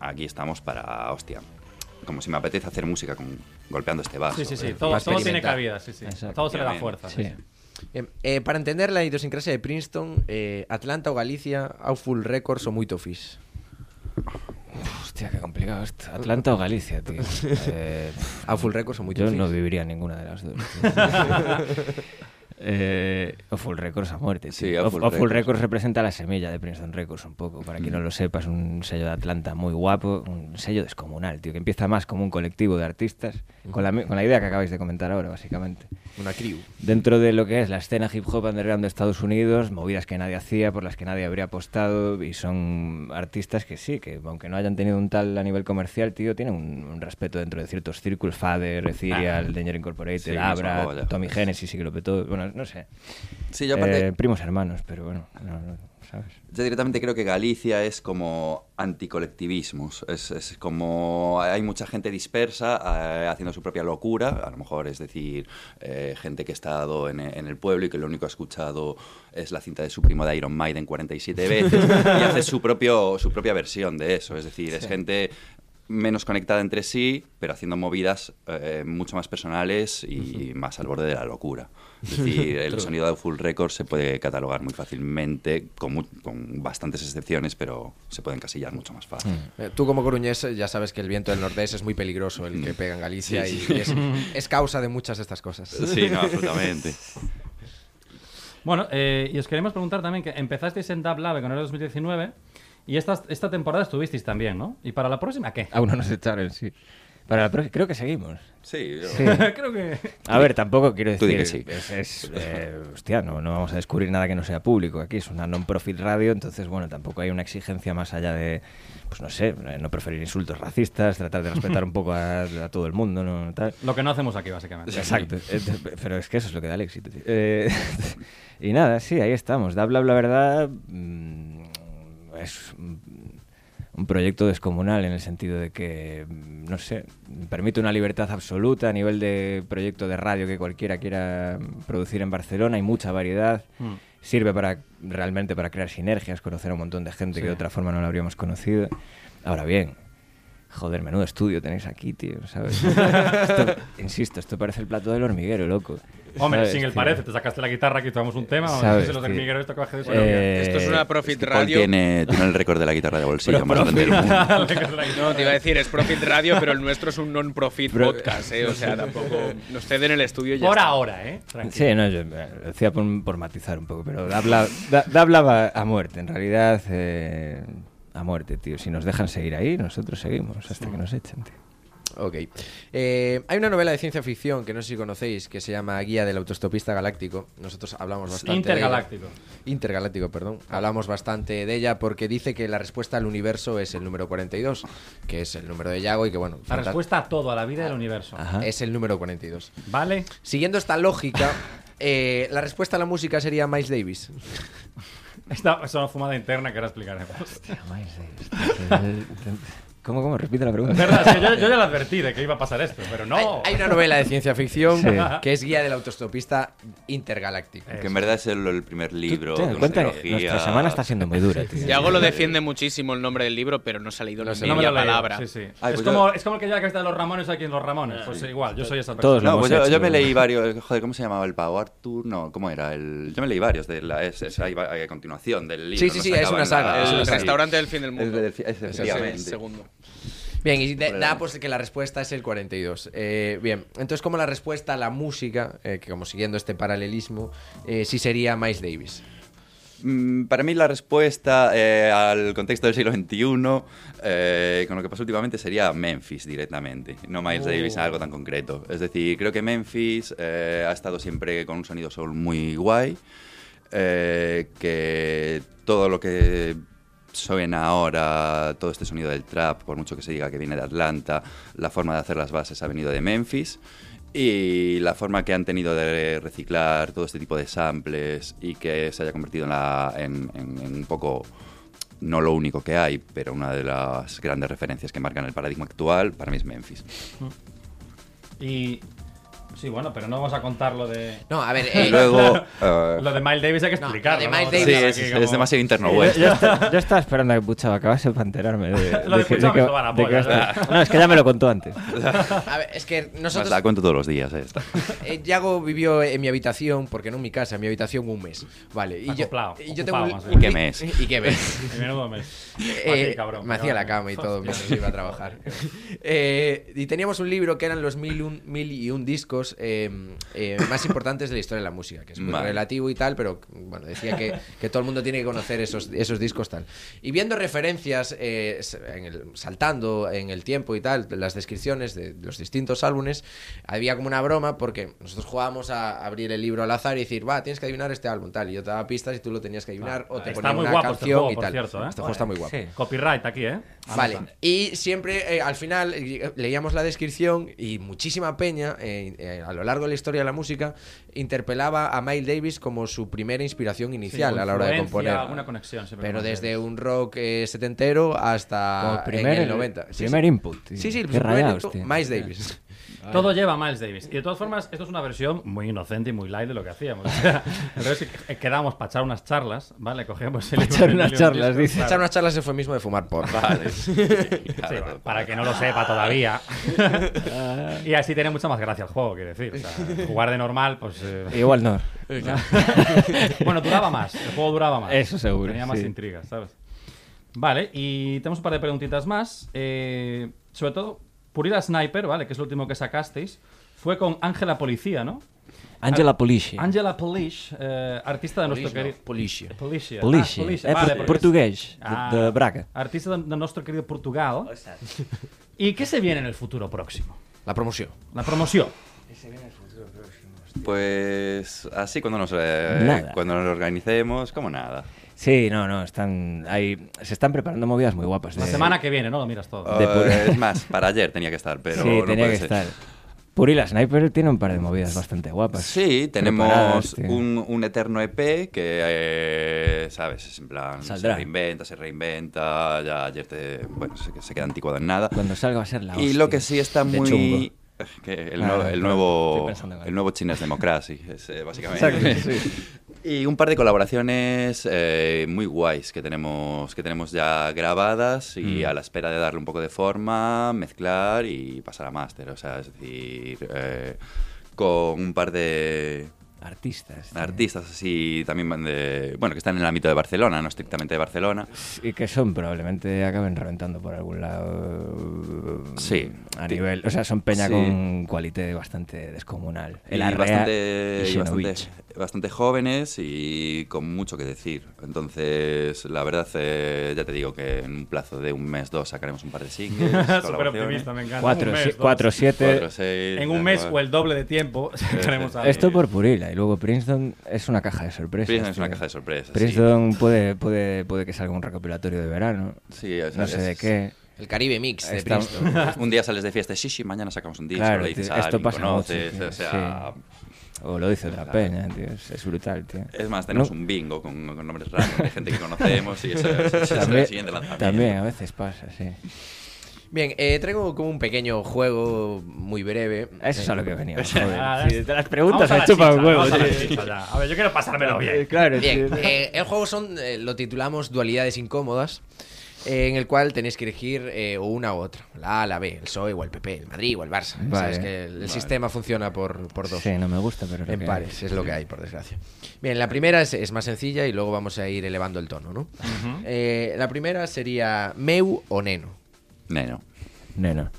Speaker 3: aquí estamos para, hostia, como si me apetece hacer música con, golpeando este vaso.
Speaker 8: Sí, sí, sí.
Speaker 3: eh.
Speaker 8: Todo, todo tiene
Speaker 1: experimentar.
Speaker 8: cabida, sí, sí.
Speaker 5: Exacto.
Speaker 8: Todo se le da
Speaker 3: Obviamente.
Speaker 8: fuerza. sí,
Speaker 5: Sí.
Speaker 8: sí.
Speaker 1: Bien, eh, para entender la idiosincrasia de Princeton, eh, Atlanta o Galicia, Outful Records o Muito Fish.
Speaker 5: Hostia, qué complicado esto. Atlanta o Galicia, tío. Eh, pff,
Speaker 1: Outful Records o Muito
Speaker 5: yo
Speaker 1: Fish.
Speaker 5: no viviría ninguna de las dos. Eh, o Full Records a muerte.
Speaker 3: Sí,
Speaker 5: tío.
Speaker 3: a
Speaker 5: o,
Speaker 3: Full
Speaker 5: o Full
Speaker 3: Records.
Speaker 5: Records representa la semilla de Princeton Records un poco. Para quien no lo sepa, es un sello de Atlanta muy guapo, un sello descomunal, tío, que empieza más como un colectivo de artistas, con la, mi- con la idea que acabáis de comentar ahora, básicamente.
Speaker 1: Una crew.
Speaker 5: Dentro de lo que es la escena hip hop underground de Estados Unidos, movidas que nadie hacía, por las que nadie habría apostado, y son artistas que sí, que aunque no hayan tenido un tal a nivel comercial, tío, tienen un, un respeto dentro de ciertos círculos, Father, Ethereal, Danger Incorporated,
Speaker 3: Sí,
Speaker 5: Abra,
Speaker 3: mismo rollo.
Speaker 5: Tommy Genesis, sí que lo petó, bueno, no sé.
Speaker 3: Sí, yo aparte-
Speaker 5: Eh, primos hermanos, pero bueno, no, no, ¿sabes?
Speaker 3: Yo directamente creo que Galicia es como anticolectivismos. Es, es como hay mucha gente dispersa eh, haciendo su propia locura. A lo mejor es decir, eh, gente que ha estado en, en el pueblo y que lo único que ha escuchado es la cinta de su primo de Iron Maiden 47 veces y hace su, propio, su propia versión de eso. Es decir, es gente menos conectada entre sí, pero haciendo movidas eh, mucho más personales y más al borde de la locura. Es decir, el sonido de Full Record se puede catalogar muy fácilmente, con, mu- con bastantes excepciones, pero se puede encasillar mucho más fácil.
Speaker 5: Mm.
Speaker 1: Eh, Tú como coruñés eh, ya sabes que el viento del nordés es muy peligroso, el que pega en Galicia,
Speaker 3: Sí,
Speaker 1: y es, es causa de muchas de estas cosas.
Speaker 3: Sí, no, absolutamente.
Speaker 8: Bueno, eh, y os queremos preguntar también que empezasteis en Dab Lab en enero de 2019 y esta, esta temporada estuvisteis también, ¿no? ¿Y para la próxima qué?
Speaker 5: Aún no nos echaron, sí. Para la próxima- creo que seguimos.
Speaker 3: Sí, yo-
Speaker 5: Sí.
Speaker 8: Creo que...
Speaker 5: A ver, tampoco quiero
Speaker 3: Tú
Speaker 5: decir.
Speaker 3: di que
Speaker 5: Es, es, eh, hostia, no, no vamos a descubrir nada que no sea público. Aquí es una non-profit radio, entonces, bueno, tampoco hay una exigencia más allá de, pues no sé, eh, no preferir insultos racistas, tratar de respetar un poco a, a todo el mundo, ¿no? Tal.
Speaker 8: Lo que no hacemos aquí, básicamente.
Speaker 5: Exacto. Eh, Pero es que eso es lo que da el éxito. tío. Eh, y nada, sí, ahí estamos. Da bla bla verdad. mm, Es un un proyecto descomunal en el sentido de que, mm, no sé, permite una libertad absoluta a nivel de proyecto de radio que cualquiera quiera mm, producir en Barcelona. Hay mucha variedad. Sirve para realmente para crear sinergias, conocer a un montón de gente que de otra forma no la habríamos conocido. Ahora bien, Joder, menudo estudio tenéis aquí, tío, ¿sabes? Esto- insisto, esto parece el plato del hormiguero, loco.
Speaker 8: Hombre,
Speaker 5: ¿Sabes,
Speaker 8: sin el
Speaker 5: tío?
Speaker 8: parece, te sacaste la guitarra, aquí tomamos un tema, vamos a ver
Speaker 5: ¿Sabes,
Speaker 8: si los
Speaker 5: tío?
Speaker 8: hormigueros esto coge este de su
Speaker 5: Eh,
Speaker 4: Esto es una Profit
Speaker 3: es que Paul
Speaker 4: Radio.
Speaker 3: tiene, tiene el récord de la guitarra de bolsillo más grande del mundo.
Speaker 4: No, te iba a decir, es Profit Radio, pero el nuestro es un non-profit
Speaker 5: Pero-
Speaker 4: podcast, ¿eh? O sea, tampoco nos ceden el estudio y ya
Speaker 8: Por
Speaker 4: está.
Speaker 8: ahora, ¿eh? Tranquilo.
Speaker 5: Sí, no, yo eh, lo decía por, por matizar un poco, pero da bla- da- da bla va a muerte, en realidad, eh, a muerte, tío. Si nos dejan seguir ahí, nosotros seguimos hasta que nos echen, tío.
Speaker 1: Ok. Eh, hay una novela de ciencia ficción que no sé si conocéis que se llama Guía del Autostopista Galáctico. Nosotros hablamos bastante. de ella.
Speaker 8: Intergaláctico.
Speaker 1: Intergaláctico, perdón. Hablamos bastante de ella porque dice que la respuesta al universo es el número 42, que es el número de Yago y que, bueno,
Speaker 8: La
Speaker 1: fanta-
Speaker 8: respuesta a todo, a la vida
Speaker 5: Ah,
Speaker 8: y al universo.
Speaker 5: Ajá.
Speaker 1: es el número 42.
Speaker 8: ¿Vale?
Speaker 1: Siguiendo esta lógica, eh, la respuesta a la música sería Miles Davis.
Speaker 8: Esta es una fumada interna que ahora explicaremos.
Speaker 5: ¿Cómo, cómo? Repite la pregunta.
Speaker 8: verdad, es que yo, yo ya lo advertí de que iba a pasar esto, pero no.
Speaker 1: Hay, hay una novela de ciencia ficción
Speaker 5: Sí.
Speaker 1: que es Guía del Autostopista Intergaláctico.
Speaker 8: Eh,
Speaker 3: Que en verdad es el, el primer libro.
Speaker 5: Tú ten
Speaker 3: de una
Speaker 5: en cuenta que
Speaker 3: trilogía.
Speaker 5: nuestra semana está siendo muy dura, tío.
Speaker 4: Yago lo defiende muchísimo el nombre del libro, pero no ha salido la
Speaker 8: No me lo leí.
Speaker 4: palabra.
Speaker 8: Sí, sí.
Speaker 3: Ay,
Speaker 8: es,
Speaker 3: pues
Speaker 8: como, es como el que lleva la camiseta de los Ramones aquí en los Ramones. Pues igual, yo soy esa persona.
Speaker 5: Todos lo
Speaker 3: No,
Speaker 5: hemos
Speaker 3: pues yo,
Speaker 5: hecho,
Speaker 3: yo me
Speaker 5: ¿no?
Speaker 3: leí varios. Joder, ¿cómo se llamaba el pavo? Arthur, no, ¿cómo era? El, yo me leí varios de la es, es- hay, va- hay a continuación del libro.
Speaker 1: Sí, sí,
Speaker 3: no
Speaker 1: sí,
Speaker 3: se
Speaker 1: es
Speaker 3: acaba
Speaker 1: una
Speaker 3: en
Speaker 1: saga,
Speaker 3: la-
Speaker 1: es una
Speaker 4: El
Speaker 1: saga.
Speaker 4: restaurante del fin del
Speaker 3: El
Speaker 4: mundo.
Speaker 3: del fi- es
Speaker 4: Ese es el
Speaker 3: efectivamente.
Speaker 4: segundo.
Speaker 1: Bien, y de-
Speaker 3: Por el
Speaker 1: da
Speaker 3: año.
Speaker 1: pues que la respuesta es el 42. Eh, bien, entonces como la respuesta a la música, eh, que como siguiendo este paralelismo, eh, sí sería Miles Davis.
Speaker 3: Mm, Para mí la respuesta eh, al contexto del siglo XXI, eh, con lo que pasó últimamente, sería Memphis directamente, no Miles Davis, algo tan concreto. Es decir, creo que Memphis eh, ha estado siempre con un sonido soul muy guay, eh, que todo lo que suena ahora, todo este sonido del trap, por mucho que se diga que viene de Atlanta, la forma de hacer las bases ha venido de Memphis. Y la forma que han tenido de reciclar todo este tipo de samples y que se haya convertido en, la- en- en- en un poco, no lo único que hay, pero una de las grandes referencias que marcan el paradigma actual, para mí es Memphis.
Speaker 2: Y. Sí, bueno, pero no vamos a contar lo de.
Speaker 1: No, a ver, eh,
Speaker 3: Y luego... eh,
Speaker 2: Lo de Miles Davis hay que
Speaker 1: No,
Speaker 2: explicarlo.
Speaker 1: lo de
Speaker 2: ¿no?
Speaker 1: Miles
Speaker 2: O sea,
Speaker 3: sí,
Speaker 1: Davis
Speaker 3: es,
Speaker 2: que
Speaker 3: es
Speaker 2: como-
Speaker 3: demasiado interno west.
Speaker 1: eh.
Speaker 5: Yo, esta- yo estaba esperando a que Puchaba acabase para enterarme de,
Speaker 2: Lo de
Speaker 5: que-
Speaker 2: Puchaba
Speaker 5: que-
Speaker 2: me soba la
Speaker 5: de que
Speaker 2: polla,
Speaker 5: va a estar. No, es que ya me lo contó antes.
Speaker 1: a ver, es que
Speaker 3: Además,
Speaker 1: nosotros...
Speaker 3: la cuento todos los días. eh, esta.
Speaker 1: Eh, Yago vivió en mi habitación, porque no en mi casa, en mi habitación un mes. Vale, y yo,
Speaker 2: Acoplado,
Speaker 1: y yo
Speaker 2: ocupado,
Speaker 1: tengo un-
Speaker 2: más bien.
Speaker 1: un
Speaker 3: ¿Y qué
Speaker 1: li-
Speaker 3: mes?
Speaker 1: ¿Y qué mes?
Speaker 2: Y menudo mes.
Speaker 1: Eh,
Speaker 2: Aquí, cabrón,
Speaker 1: me hacía
Speaker 2: cabrón.
Speaker 1: la cama y todo mientras iba a trabajar. Eh, y teníamos un libro que eran los mil, un- mil y un discos eh, eh, más importantes de la historia de la música, que es muy
Speaker 3: Vale.
Speaker 1: relativo y tal, pero bueno, decía que, que todo el mundo tiene que conocer esos, esos discos tal. Y viendo referencias, eh, s- en el- saltando en el tiempo y tal, las descripciones de los distintos álbumes, había como una broma porque nosotros jugábamos a abrir el libro al azar y decir, va, tienes que adivinar este álbum tal. Y yo te daba pistas y tú lo tenías que adivinar o te
Speaker 2: Está
Speaker 1: ponía
Speaker 2: muy
Speaker 1: una
Speaker 2: guapo este
Speaker 1: canción
Speaker 2: juego,
Speaker 1: y
Speaker 2: por
Speaker 1: tal.
Speaker 2: cierto, ¿eh?
Speaker 1: Este juego está muy guapo.
Speaker 5: Sí.
Speaker 2: Copyright aquí, ¿eh? Anota.
Speaker 1: Vale, y siempre eh, al final eh, leíamos la descripción y muchísima peña eh, eh, a lo largo de la historia de la música interpelaba a Miles Davis como su primera inspiración
Speaker 2: Sí,
Speaker 1: inicial a la hora de
Speaker 2: influencia,
Speaker 1: componer.
Speaker 2: Alguna conexión, siempre
Speaker 1: Pero
Speaker 2: con Miles
Speaker 1: desde
Speaker 2: Davis.
Speaker 1: un rock eh, setentero hasta
Speaker 5: Como
Speaker 1: Ah, en
Speaker 5: primer,
Speaker 1: el 90. Sí,
Speaker 5: primer
Speaker 1: sí.
Speaker 5: input. tío.
Speaker 1: Sí, sí, el
Speaker 5: Qué
Speaker 1: primer
Speaker 5: rayados,
Speaker 1: input,
Speaker 5: tío.
Speaker 1: Miles Davis.
Speaker 2: Todo lleva a Miles Davis. Y de todas formas, esto es una versión muy inocente y muy light de lo que hacíamos. O sea, Entonces eh, quedamos para echar unas charlas, ¿vale? Cogemos el
Speaker 5: Pa'
Speaker 2: libro
Speaker 5: echar
Speaker 2: de
Speaker 5: unas
Speaker 2: Emilio
Speaker 5: charlas,
Speaker 2: Francisco,
Speaker 5: dice.
Speaker 2: claro.
Speaker 1: Echar unas charlas se fue mismo de fumar por.
Speaker 3: Vale.
Speaker 2: Sí,
Speaker 3: Claro.
Speaker 2: para que no lo sepa todavía. y así tiene mucha más gracia el juego, quiero decir. O sea, jugar de normal, pues. eh,
Speaker 5: Igual no.
Speaker 2: bueno, duraba más. El juego duraba más.
Speaker 5: Eso seguro,
Speaker 2: Tenía más
Speaker 5: sí.
Speaker 2: intrigas, ¿sabes? Vale, y tenemos un par de preguntitas más. Eh, sobre todo, Purila Sniper, ¿vale? Que es lo último que sacasteis. Fue con Ángela Policía, ¿no?
Speaker 5: Angela Polishi.
Speaker 2: Angela Polish, eh, artista de nuestro querido.
Speaker 1: Policia.
Speaker 2: Policia.
Speaker 5: Polishi.
Speaker 2: Ah, Policia,
Speaker 5: É
Speaker 2: vale,
Speaker 5: por-
Speaker 2: porque es-
Speaker 5: portugués, de-
Speaker 2: Ah,
Speaker 5: de, Braga.
Speaker 2: Artista de, de nuestro querido Portugal. ¿Y qué se viene en el futuro próximo?
Speaker 1: La promoción.
Speaker 2: La promoción.
Speaker 3: Pues así cuando nos, eh,
Speaker 5: Nada.
Speaker 3: cuando nos organicemos, como nada.
Speaker 5: Sí, no, no, están ahí, se están preparando movidas muy guapas.
Speaker 2: La
Speaker 5: de-
Speaker 2: semana que viene, ¿no? Lo miras todo.
Speaker 5: Ah, De pura-
Speaker 3: Eh, es más, para ayer tenía que estar, pero
Speaker 5: sí,
Speaker 3: no
Speaker 5: tenía
Speaker 3: puede
Speaker 5: que
Speaker 3: ser.
Speaker 5: estar. Purila Sniper tiene un par de movidas bastante guapas.
Speaker 3: Sí,
Speaker 5: Preparadas,
Speaker 3: tenemos
Speaker 5: tío.
Speaker 3: un, un eterno EP que, eh, sabes, es en plan,
Speaker 5: Saldrá.
Speaker 3: se reinventa, se reinventa, ya ayer te, bueno, se, se queda anticuado en nada.
Speaker 5: Cuando salga va a ser la
Speaker 3: y lo que sí está
Speaker 5: de
Speaker 3: muy...
Speaker 5: chungo.
Speaker 3: que el,
Speaker 5: Ah,
Speaker 3: nuevo- el
Speaker 5: perdón, estoy
Speaker 3: nuevo,
Speaker 5: pensando en algo.
Speaker 3: el nuevo China's Democracy, es, eh, básicamente. Y un par de colaboraciones eh, muy guays que tenemos, que tenemos ya grabadas y
Speaker 5: Mm.
Speaker 3: a la espera de darle un poco de forma, mezclar y pasar a máster. O sea, es decir, eh, con un par de
Speaker 5: Artistas. tío.
Speaker 3: artistas así también van de, bueno, que están en el ámbito de Barcelona, no estrictamente de Barcelona.
Speaker 5: Y que son probablemente acaben reventando por algún lado.
Speaker 3: Sí.
Speaker 5: A nivel. O sea, son peña
Speaker 3: Sí.
Speaker 5: con cualité bastante descomunal. El
Speaker 3: y
Speaker 5: Arrea
Speaker 3: bastante,
Speaker 5: y
Speaker 3: y bastante,
Speaker 5: Xenovich.
Speaker 3: bastante jóvenes y con mucho que decir. Entonces, la verdad, eh, ya te digo que en un plazo de un mes, dos, sacaremos un par de singles.
Speaker 2: Súper
Speaker 3: colaboraciones.
Speaker 2: optimista, me encanta.
Speaker 5: Cuatro,
Speaker 2: Un mes,
Speaker 5: si-
Speaker 2: dos.
Speaker 5: cuatro, siete.
Speaker 3: Cuatro, seis,
Speaker 2: En un
Speaker 3: tal
Speaker 2: mes
Speaker 3: cual.
Speaker 2: o el doble de tiempo sacaremos algo.
Speaker 5: Esto por Purila. Y luego Princeton es una caja de sorpresas.
Speaker 3: Princeton es una
Speaker 5: tío.
Speaker 3: caja de sorpresas.
Speaker 5: Princeton puede, puede, puede que salga un recopilatorio de verano.
Speaker 3: Sí, o sea,
Speaker 5: No sé
Speaker 3: es-
Speaker 5: de qué.
Speaker 1: El Caribe Mix de
Speaker 5: Está-
Speaker 1: Princeton.
Speaker 3: Un día sales de fiesta, sí, sí, mañana sacamos un disco.
Speaker 5: Claro,
Speaker 3: le dices
Speaker 5: tío,
Speaker 3: a
Speaker 5: esto
Speaker 3: alguien,
Speaker 5: pasa
Speaker 3: conoces,
Speaker 5: mucho, tío,
Speaker 3: o sea,
Speaker 5: O lo dice otra
Speaker 3: Claro.
Speaker 5: peña, tío. Es, es brutal, tío.
Speaker 3: Es más, tenemos
Speaker 5: No,
Speaker 3: un bingo con, con nombres raros de gente que conocemos y eso es, es el
Speaker 5: También,
Speaker 3: siguiente lanzamiento.
Speaker 5: también, a veces pasa, sí.
Speaker 1: Bien, eh, traigo como un pequeño juego muy breve.
Speaker 5: Eso es a lo que venía.
Speaker 2: Ah,
Speaker 5: Joder. Sí, de las
Speaker 2: Vamos
Speaker 5: preguntas
Speaker 2: a
Speaker 5: me
Speaker 2: la
Speaker 5: chupa
Speaker 2: chicha,
Speaker 5: un huevo,
Speaker 2: vamos a la
Speaker 5: tío.
Speaker 2: chicha ya. A ver, yo quiero pasármelo
Speaker 5: Eh,
Speaker 2: bien.
Speaker 5: Claro,
Speaker 1: Bien,
Speaker 5: tío.
Speaker 1: eh, el juego son, eh, lo titulamos Dualidades Incómodas, eh, en el cual tenéis que elegir eh, o una u otra, la A, la B, el PSOE o el PP, el Madrid o el Barça.
Speaker 5: Vale.
Speaker 1: Sabes que el, el sistema funciona por, por dos.
Speaker 5: Sí, no me gusta, pero. lo
Speaker 1: En
Speaker 5: que-
Speaker 1: pares, es lo que hay, por desgracia. Bien, la primera es, es más sencilla y luego vamos a ir elevando el tono, ¿no? Eh, la primera sería Meu o Neno.
Speaker 3: Neno.
Speaker 5: nena.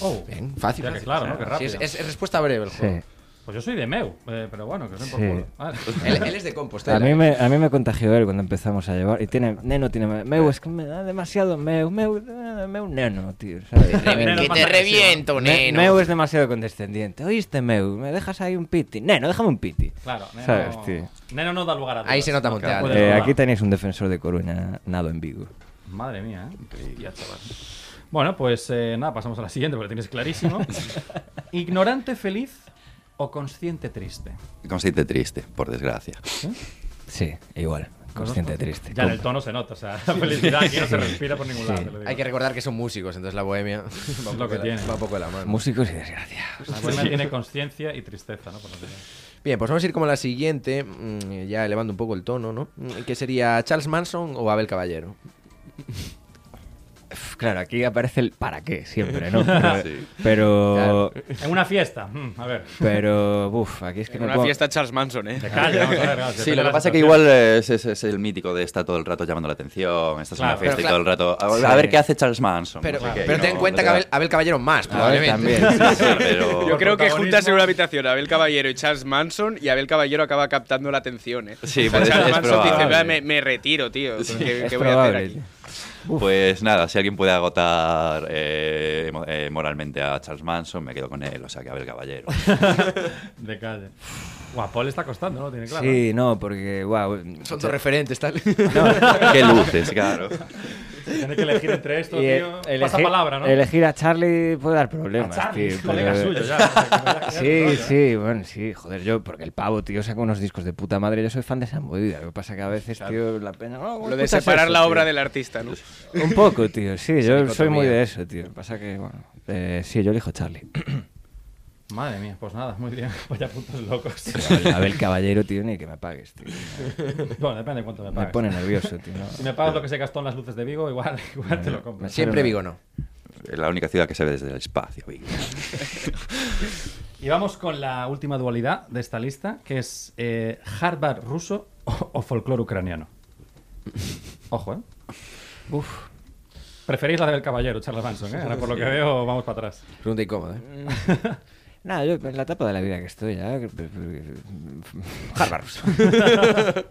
Speaker 2: Oh,
Speaker 1: Bien, fácil.
Speaker 2: Ya que
Speaker 1: fácil.
Speaker 2: claro,
Speaker 1: O sea,
Speaker 2: ¿no? Qué
Speaker 1: sí,
Speaker 2: rápido.
Speaker 1: es, es- es respuesta breve el juego.
Speaker 5: Sí.
Speaker 2: Pues yo soy de Meu, eh, pero bueno, que os den por
Speaker 5: Sí.
Speaker 2: culo. Vale.
Speaker 1: Él, él es de
Speaker 5: A
Speaker 1: Compostela.
Speaker 5: mí, me, a mí me contagió él cuando empezamos a llevar. Y tiene. Neno tiene. Meu, es que me da demasiado. Meu, meu, eh, meu, neno, tío. ¿sabes?
Speaker 2: Neno
Speaker 1: Que
Speaker 2: es más
Speaker 1: te
Speaker 2: agresivo.
Speaker 1: reviento,
Speaker 5: Me-
Speaker 1: neno.
Speaker 5: Meu es demasiado condescendiente. ¿Oíste, Meu? ¿Me dejas ahí un piti? Neno, déjame un piti. Eh,
Speaker 2: Claro, Neno,
Speaker 5: ¿Sabes, tío?
Speaker 2: Neno no da lugar a dudas.
Speaker 1: Ahí se nota
Speaker 2: Nunca
Speaker 1: Monteal.
Speaker 2: puede
Speaker 5: Eh,
Speaker 2: dudar.
Speaker 5: aquí tenéis un defensor de Coruña nado en Vigo.
Speaker 2: Madre mía, ¿eh? Hostia, chaval. Bueno, pues eh, nada, pasamos a la siguiente, porque lo tienes clarísimo. ¿Ignorante feliz o consciente triste?
Speaker 3: Consciente triste, por desgracia.
Speaker 5: Sí, igual. Consciente triste.
Speaker 2: Ya en el tono se nota, o sea, la felicidad aquí no se respira por ningún lado. te lo digo.
Speaker 1: Hay que recordar que son músicos, entonces la bohemia va, un
Speaker 2: lo
Speaker 1: poco
Speaker 2: que
Speaker 1: de la-
Speaker 2: tiene.
Speaker 1: va un poco de la mano.
Speaker 5: Músicos y desgracia.
Speaker 2: La buena tiene conciencia y tristeza, ¿no? Por lo que sea.
Speaker 1: Bien, pues vamos a ir como a la siguiente, mm, ya elevando un poco el tono, ¿no? Mm, Que sería Charles Manson o Abel Caballero.
Speaker 5: Uf, Claro, aquí aparece el para qué siempre, ¿no? Pero,
Speaker 3: Sí.
Speaker 5: pero,
Speaker 2: En una fiesta, mm, a ver.
Speaker 5: pero, uf, aquí es que
Speaker 4: En
Speaker 5: me
Speaker 4: una
Speaker 5: puedo-
Speaker 4: fiesta Charles Manson, ¿eh?
Speaker 2: Calla, vamos a ver, claro, depende
Speaker 3: Sí, lo
Speaker 2: de
Speaker 3: que
Speaker 2: la
Speaker 3: pasa es que
Speaker 2: situación.
Speaker 3: igual es, es- es el mítico de está todo el rato llamando la atención, estás en
Speaker 2: Claro,
Speaker 3: una fiesta
Speaker 1: pero
Speaker 3: y todo el rato. A, a ver qué hace Charles Manson.
Speaker 1: Pero,
Speaker 3: no sé qué,
Speaker 1: pero
Speaker 3: y
Speaker 1: ten en
Speaker 3: no-
Speaker 1: cuenta
Speaker 3: no
Speaker 1: que
Speaker 3: te da-
Speaker 1: Abel, Abel Caballero más,
Speaker 5: A ver,
Speaker 1: probablemente.
Speaker 5: también.
Speaker 3: Sí, pero-
Speaker 4: Yo creo que
Speaker 2: protagonismo.
Speaker 4: juntas en una habitación a Abel Caballero y Charles Manson y Abel Caballero acaba captando la atención, ¿eh?
Speaker 3: Sí,
Speaker 4: O sea,
Speaker 3: pues es-
Speaker 4: Charles
Speaker 3: es
Speaker 4: Manson dice,
Speaker 3: probable.
Speaker 4: "Va, me, me retiro, tío. ¿Qué,
Speaker 5: Es
Speaker 4: qué voy a hacer
Speaker 5: probable,
Speaker 4: aquí?
Speaker 3: Pues nada, si alguien puede agotar eh, emo- eh, moralmente a Charles Manson, me quedo con él, o sea que Abel Caballero.
Speaker 2: De calle. Guau, Paul está costando, ¿no? Lo tiene claro. ¿eh?
Speaker 5: Sí, no, porque, wow.
Speaker 1: Son dos referentes, tal.
Speaker 3: qué luces, claro.
Speaker 2: Tiene que elegir entre esto,
Speaker 5: Y, eh,
Speaker 2: tío. Pasa palabra, ¿no?
Speaker 5: elegir a Charlie puede dar
Speaker 2: A
Speaker 5: problemas,
Speaker 2: Charlie,
Speaker 5: tío,
Speaker 2: es colega
Speaker 5: pero-
Speaker 2: suyo, ya. o sea, que me da- me da
Speaker 5: Sí,
Speaker 2: rollo. ¿eh?
Speaker 5: sí, bueno, sí, joder, yo, porque el pavo, tío, saca unos discos de puta madre, yo soy fan de esa movida, lo que pasa que a veces, tío, la pena... "Oh,
Speaker 4: Lo de
Speaker 5: escuchas
Speaker 4: separar
Speaker 5: eso,
Speaker 4: la
Speaker 5: tío".
Speaker 4: obra del artista, ¿no?
Speaker 5: Un poco, tío, sí, yo soy muy
Speaker 1: dicotomía.
Speaker 5: de eso, tío, lo que pasa que, bueno, eh, sí, yo elijo Charlie.
Speaker 2: Madre mía, pues nada, muy bien. Vaya puntos locos.
Speaker 5: A ver, caballero, tío, ni que me pagues, tío,
Speaker 2: bueno, depende de cuánto me
Speaker 5: me
Speaker 2: pagues.
Speaker 5: pone nervioso, tío. no.
Speaker 2: Si me pagas lo que se gastó en las luces de Vigo, igual, igual te lo compro.
Speaker 1: Siempre Vigo no.
Speaker 3: La única ciudad que se ve desde el espacio. Vigo.
Speaker 2: Y vamos con la última dualidad de esta lista, que es eh, Harvard ruso o, o folclore ucraniano. Ojo, ¿eh? Uf. Preferís la del caballero, Charles Manson, ¿eh? Ahora por lo que veo, vamos para atrás.
Speaker 1: Pregunta incómoda, ¿eh?
Speaker 5: Nada, yo en la etapa de la vida que estoy ya... Harvard.
Speaker 2: Ah,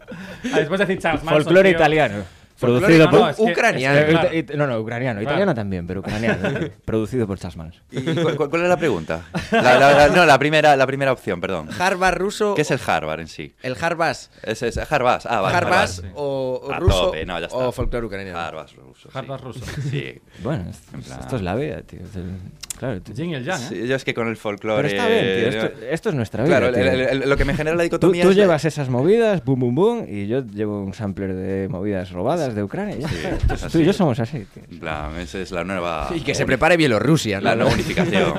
Speaker 2: Después de decir Charles Manson.
Speaker 5: Folclore
Speaker 2: tío,
Speaker 5: italiano.
Speaker 2: Folclore-
Speaker 5: Producido
Speaker 2: no,
Speaker 5: por...
Speaker 2: no, es que-
Speaker 1: ucraniano.
Speaker 2: es que, claro,
Speaker 5: Eh, it- No, no, ucraniano.
Speaker 2: Claro.
Speaker 5: Italiano también, pero ucraniano. tío. Producido por Chasmans.
Speaker 3: ¿Y cu- cu- ¿Cuál es la pregunta? La- la- la- no, la primera, la primera opción, perdón.
Speaker 1: Harvard ruso.
Speaker 3: ¿Qué es el Harvard en sí?
Speaker 1: El Harvard.
Speaker 3: Es, es Harvard. Ah, vale,
Speaker 1: Harvard
Speaker 3: Harvard.
Speaker 1: o, o
Speaker 3: A
Speaker 1: ruso
Speaker 3: tope, no, ya está.
Speaker 1: o folclore ucraniano.
Speaker 3: Harvard ruso. sí.
Speaker 2: Harvard ruso.
Speaker 3: Sí.
Speaker 5: Bueno, es- esto es la vida, tío. Es el- Claro, tío.
Speaker 2: Jin y el Yang, ¿eh?
Speaker 3: Sí, Yo es que con el
Speaker 5: Pero
Speaker 3: folclore.
Speaker 5: está bien, tío.
Speaker 3: no-
Speaker 5: Esto, esto es nuestra vida.
Speaker 3: Claro, el-
Speaker 5: tío.
Speaker 3: el- el- lo que me genera la
Speaker 5: Tú,
Speaker 3: dicotomía
Speaker 5: tú
Speaker 3: es la-
Speaker 5: llevas esas movidas, boom, boom, boom, y yo llevo un sampler de movidas robadas de Ucrania. y ya está. Entonces,
Speaker 3: es
Speaker 5: tú y
Speaker 3: así.
Speaker 5: yo somos así, tío.
Speaker 3: En plan, esa es la nueva.
Speaker 1: Y que se prepare Bielorrusia, ¿no?
Speaker 3: La nueva unificación.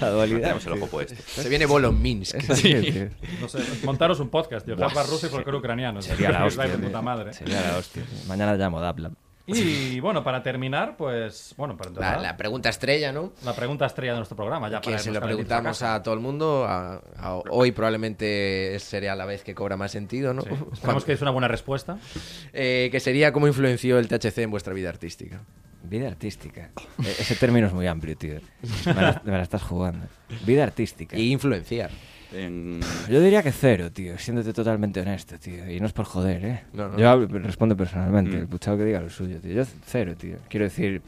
Speaker 5: La dualidad.
Speaker 3: Tenemos el ojo puesto.
Speaker 1: Se viene Volodminsk.
Speaker 5: Es así, tío.
Speaker 2: No sé, montaros un podcast, tío. Harvard ruso y folclore ucraniano.
Speaker 5: Sería la
Speaker 2: Vais de
Speaker 5: hostia. tío.
Speaker 2: puta madre.
Speaker 5: Sería la hostia. tío. Mañana llamo Dapla.
Speaker 2: Y bueno, para terminar, pues. Bueno, para
Speaker 1: La,
Speaker 2: terminar,
Speaker 1: la pregunta estrella, ¿no?
Speaker 2: la pregunta estrella de nuestro programa, ya para
Speaker 1: Que se lo
Speaker 2: irnos calentito
Speaker 1: preguntamos
Speaker 2: casa.
Speaker 1: a todo el mundo. a- a- hoy probablemente sería la vez que cobra más sentido, ¿no?
Speaker 2: Sí. Esperamos que es una buena respuesta.
Speaker 1: Eh, que sería cómo influenció el THC en vuestra vida artística.
Speaker 5: Vida artística. E- Ese término es muy amplio, tío. Me la, me la estás jugando. Vida artística.
Speaker 1: Y influenciar.
Speaker 3: En-
Speaker 5: Yo diría que cero, tío, siéndote totalmente honesto, tío. Y no es por joder, ¿eh?
Speaker 1: No, no. Mm.
Speaker 5: Yo hablo- respondo personalmente, el puchado que diga lo suyo, tío. Yo c- cero, tío. Quiero decir,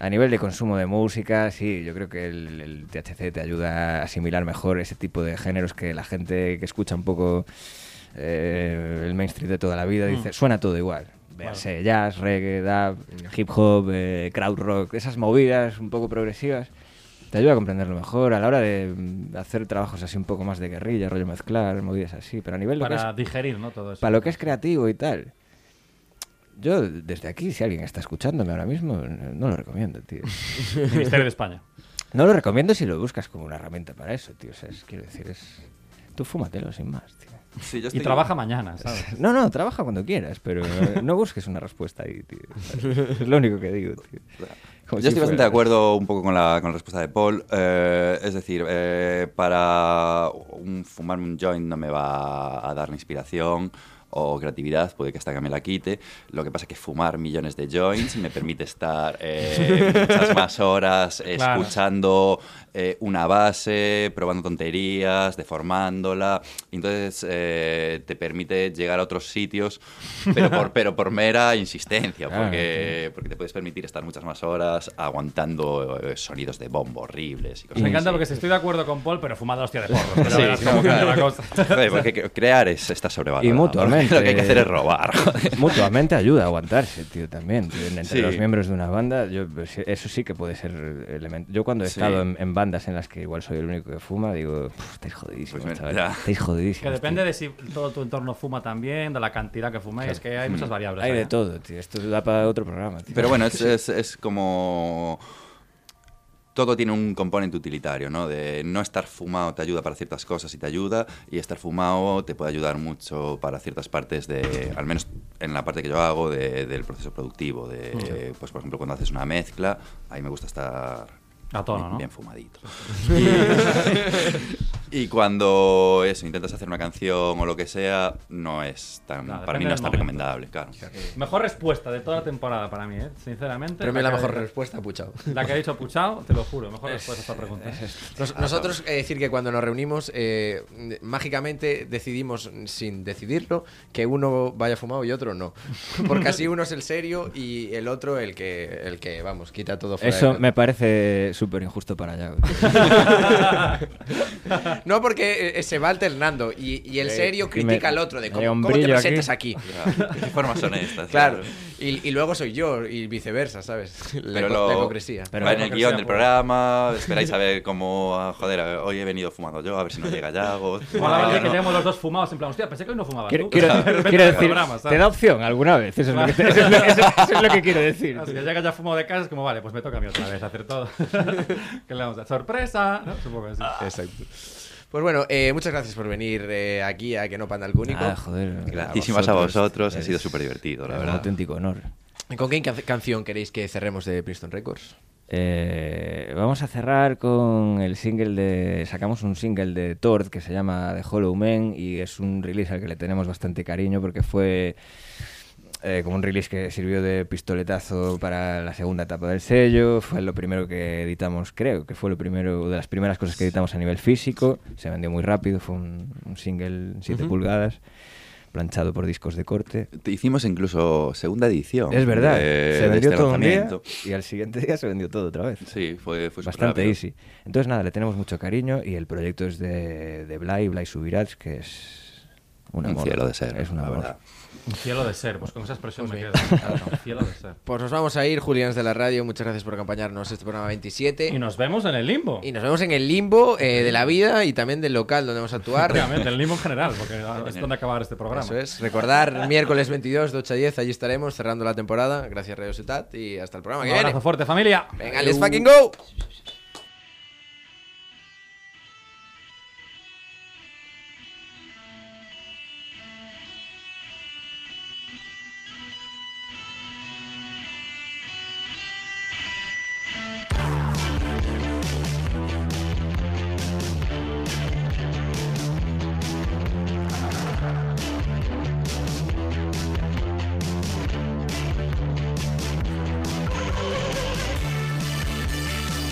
Speaker 5: a nivel de consumo de música, sí, yo creo que el, el THC te ayuda a asimilar mejor ese tipo de géneros que la gente que escucha un poco eh, el mainstream de toda la vida dice, suena todo igual. Véase jazz, reggae, dub, hip hop, eh, crowd rock, esas movidas un poco progresivas. Te ayuda a comprenderlo mejor a la hora de mm, hacer trabajos así un poco más de guerrilla, rollo mezclar, movidas así. Pero a nivel lo que es-
Speaker 2: Para digerir, ¿no? Todo eso.
Speaker 5: para lo que es creativo y tal. Yo, desde aquí, si alguien está escuchándome ahora mismo, no no lo recomiendo, tío.
Speaker 2: Ministerio de España.
Speaker 5: No lo recomiendo si lo buscas como una herramienta para eso, tío. O sea, es- quiero decir, es... Tú fúmatelo sin más, tío.
Speaker 3: Sí,
Speaker 2: Y
Speaker 3: yo estoy-
Speaker 2: trabaja mañana, ¿sabes?
Speaker 5: No, no, trabaja cuando quieras, pero eh, no busques una respuesta ahí, tío. Es lo único que digo, tío. Como
Speaker 3: Yo
Speaker 5: si
Speaker 3: estoy bastante
Speaker 5: fuera-
Speaker 3: de acuerdo un poco con la, con la respuesta de Paul. Eh, es decir, eh, para un, fumarme un joint no me va a dar la inspiración. o creatividad, puede que esta que me la quite. Lo que pasa es que fumar millones de joints me permite estar eh, muchas más horas eh,
Speaker 8: Claro.
Speaker 3: escuchando eh, una base, probando tonterías, deformándola. Entonces eh, te permite llegar a otros sitios, pero por, pero por mera insistencia,
Speaker 5: Claro,
Speaker 3: porque, eh, porque te puedes permitir estar muchas más horas aguantando eh, sonidos de bombo horribles y cosas
Speaker 8: Me encanta
Speaker 3: así.
Speaker 8: porque si estoy de acuerdo con Paul, pero fumado hostia de porros. Pero
Speaker 3: Sí,
Speaker 8: verás
Speaker 3: como
Speaker 8: cómo
Speaker 3: que-
Speaker 8: cambia la cosa.
Speaker 3: Joder, porque cre- crear es, está sobrevalorado.
Speaker 5: Y mutuamente.
Speaker 3: Lo que hay que hacer es robar. joder.
Speaker 5: Mutuamente ayuda a aguantarse, tío, también. tío. Entre
Speaker 3: Sí.
Speaker 5: los miembros de una banda, yo, pues, eso sí que puede ser elemento. Yo cuando he
Speaker 3: Sí.
Speaker 5: estado en, en bandas en las que igual soy el único que fuma, digo, "Puf, estáis
Speaker 3: Pues
Speaker 5: jodidísimos,
Speaker 3: mira,
Speaker 5: chaval.
Speaker 3: ya.
Speaker 5: Estáis jodidísimos.
Speaker 8: Que depende
Speaker 5: tío".
Speaker 8: de si todo tu entorno fuma también, de la cantidad que fumáis, que hay
Speaker 1: Mm.
Speaker 8: muchas variables.
Speaker 5: Hay
Speaker 8: ahí,
Speaker 5: de
Speaker 8: ¿eh?
Speaker 5: todo, tío. Esto da para otro programa, tío.
Speaker 3: Pero bueno, es, es- es como... Todo tiene un componente utilitario, ¿no? De no estar fumado te ayuda para ciertas cosas y te ayuda, y estar fumado te puede ayudar mucho para ciertas partes de, al menos en la parte que yo hago, de- del proceso productivo. De, Pues por ejemplo, cuando haces una mezcla, ahí me gusta estar
Speaker 8: A tono,
Speaker 3: bien,
Speaker 8: ¿no?
Speaker 3: bien fumadito. Y, y cuando eso, intentas hacer una canción o lo que sea, no es tan,
Speaker 8: Claro,
Speaker 3: para
Speaker 8: depende
Speaker 3: mí no
Speaker 8: del
Speaker 3: es tan
Speaker 8: momento.
Speaker 3: recomendable, claro.
Speaker 8: Mejor respuesta de toda la temporada para mí, ¿eh? sinceramente.
Speaker 1: Premio a la
Speaker 8: que-
Speaker 1: mejor respuesta, puchao.
Speaker 8: La que ha dicho Puchao, te lo juro, mejor respuesta a esta pregunta.
Speaker 1: Nos- nosotros, eh, decir que cuando nos reunimos, eh, mágicamente decidimos, sin decidirlo, que uno vaya fumado y otro no. Porque así uno es el serio y el otro el que, el que vamos, quita todo fuera
Speaker 5: Eso
Speaker 1: de-
Speaker 5: me parece súper injusto para allá.
Speaker 1: No, porque eh, se va alternando y, y el serio
Speaker 5: que me-
Speaker 1: critica al otro de
Speaker 5: me llega
Speaker 1: cómo,
Speaker 5: un
Speaker 1: cómo te
Speaker 5: brillo aquí.
Speaker 1: presentas aquí.
Speaker 3: ¿Qué formas son estas?
Speaker 1: Claro. Y, y luego soy yo y viceversa, ¿sabes? La,
Speaker 3: Pero
Speaker 1: hipo-
Speaker 3: lo-
Speaker 1: la hipocresía.
Speaker 3: Pero
Speaker 8: la
Speaker 3: en el
Speaker 8: hipocresía
Speaker 3: guión del
Speaker 8: pura.
Speaker 3: programa, esperáis a ver cómo. ah, Joder, a ver, hoy he venido fumando yo, a ver si no llega Yago.
Speaker 8: Mola
Speaker 3: Ah,
Speaker 8: ver que
Speaker 3: no.
Speaker 8: llevamos los dos fumados, en plan, hostia, pensé que hoy no fumaba
Speaker 5: Quiero,
Speaker 8: tú.
Speaker 5: quiero-
Speaker 8: De repente
Speaker 5: quiero
Speaker 8: te
Speaker 5: decir,
Speaker 8: programas,
Speaker 5: te
Speaker 8: ¿sabes?
Speaker 5: da opción alguna vez. Eso es lo que, te- eso es lo- eso- eso es lo que quiero decir.
Speaker 8: Así que ya que ya fumo de casa, es como, vale, pues me toca a mí otra vez hacer todo. que le vamos a ¡Sorpresa! ¿no? Supongo que sí.
Speaker 1: Exacto. Pues bueno, eh, muchas gracias por venir eh, aquí a Que no panda el cúnico.
Speaker 5: Ah, joder.
Speaker 3: Gratísimas a vosotros, ha sido súper divertido, la
Speaker 5: Es un
Speaker 3: verdad.
Speaker 5: auténtico honor.
Speaker 1: ¿Con qué can- canción queréis que cerremos de Princeton Records?
Speaker 5: Eh, vamos a cerrar con el single de. Sacamos un single de Tord que se llama The Hollow Man y es un release al que le tenemos bastante cariño porque fue eh, como un release que sirvió de pistoletazo para la segunda etapa del sello. Fue lo primero que editamos, creo que fue lo primero de las primeras cosas que editamos a nivel físico. Se vendió muy rápido, fue un, un single 7 pulgadas planchado por discos de corte. Eh,
Speaker 3: Te Hicimos incluso segunda edición.
Speaker 5: Es verdad,
Speaker 3: de-
Speaker 5: se
Speaker 3: de
Speaker 5: vendió
Speaker 3: este
Speaker 5: todo un día
Speaker 3: lanzamiento.
Speaker 5: y al siguiente día se vendió todo otra vez.
Speaker 3: Sí, fue, fue
Speaker 5: Bastante
Speaker 3: superrápido.
Speaker 5: easy. Entonces, nada, le tenemos mucho cariño y el proyecto es de, de Blay, Blay Subirats, que es un
Speaker 3: Un
Speaker 5: amor.
Speaker 3: cielo de ser.
Speaker 5: Es un
Speaker 3: la
Speaker 5: amor.
Speaker 3: verdad.
Speaker 8: Un cielo de ser, pues con esa expresión
Speaker 1: Pues
Speaker 8: me
Speaker 1: bien.
Speaker 8: quedo. Claro, un cielo de ser.
Speaker 1: Pues nos vamos a ir, Julián de la Radio. Muchas gracias por acompañarnos este programa 27.
Speaker 8: Y nos vemos en el limbo.
Speaker 1: Y nos vemos en el limbo eh, de la vida y también del local donde vamos a actuar.
Speaker 8: Obviamente, en el limbo en general, porque es donde acabar este programa.
Speaker 1: Eso es. Recordar, miércoles 22 de 8 a 10, allí estaremos cerrando la temporada. Gracias Radio Ciutat y hasta el programa
Speaker 8: Un
Speaker 1: que viene.
Speaker 8: abrazo fuerte, familia.
Speaker 1: Venga, let's fucking go.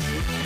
Speaker 6: Thank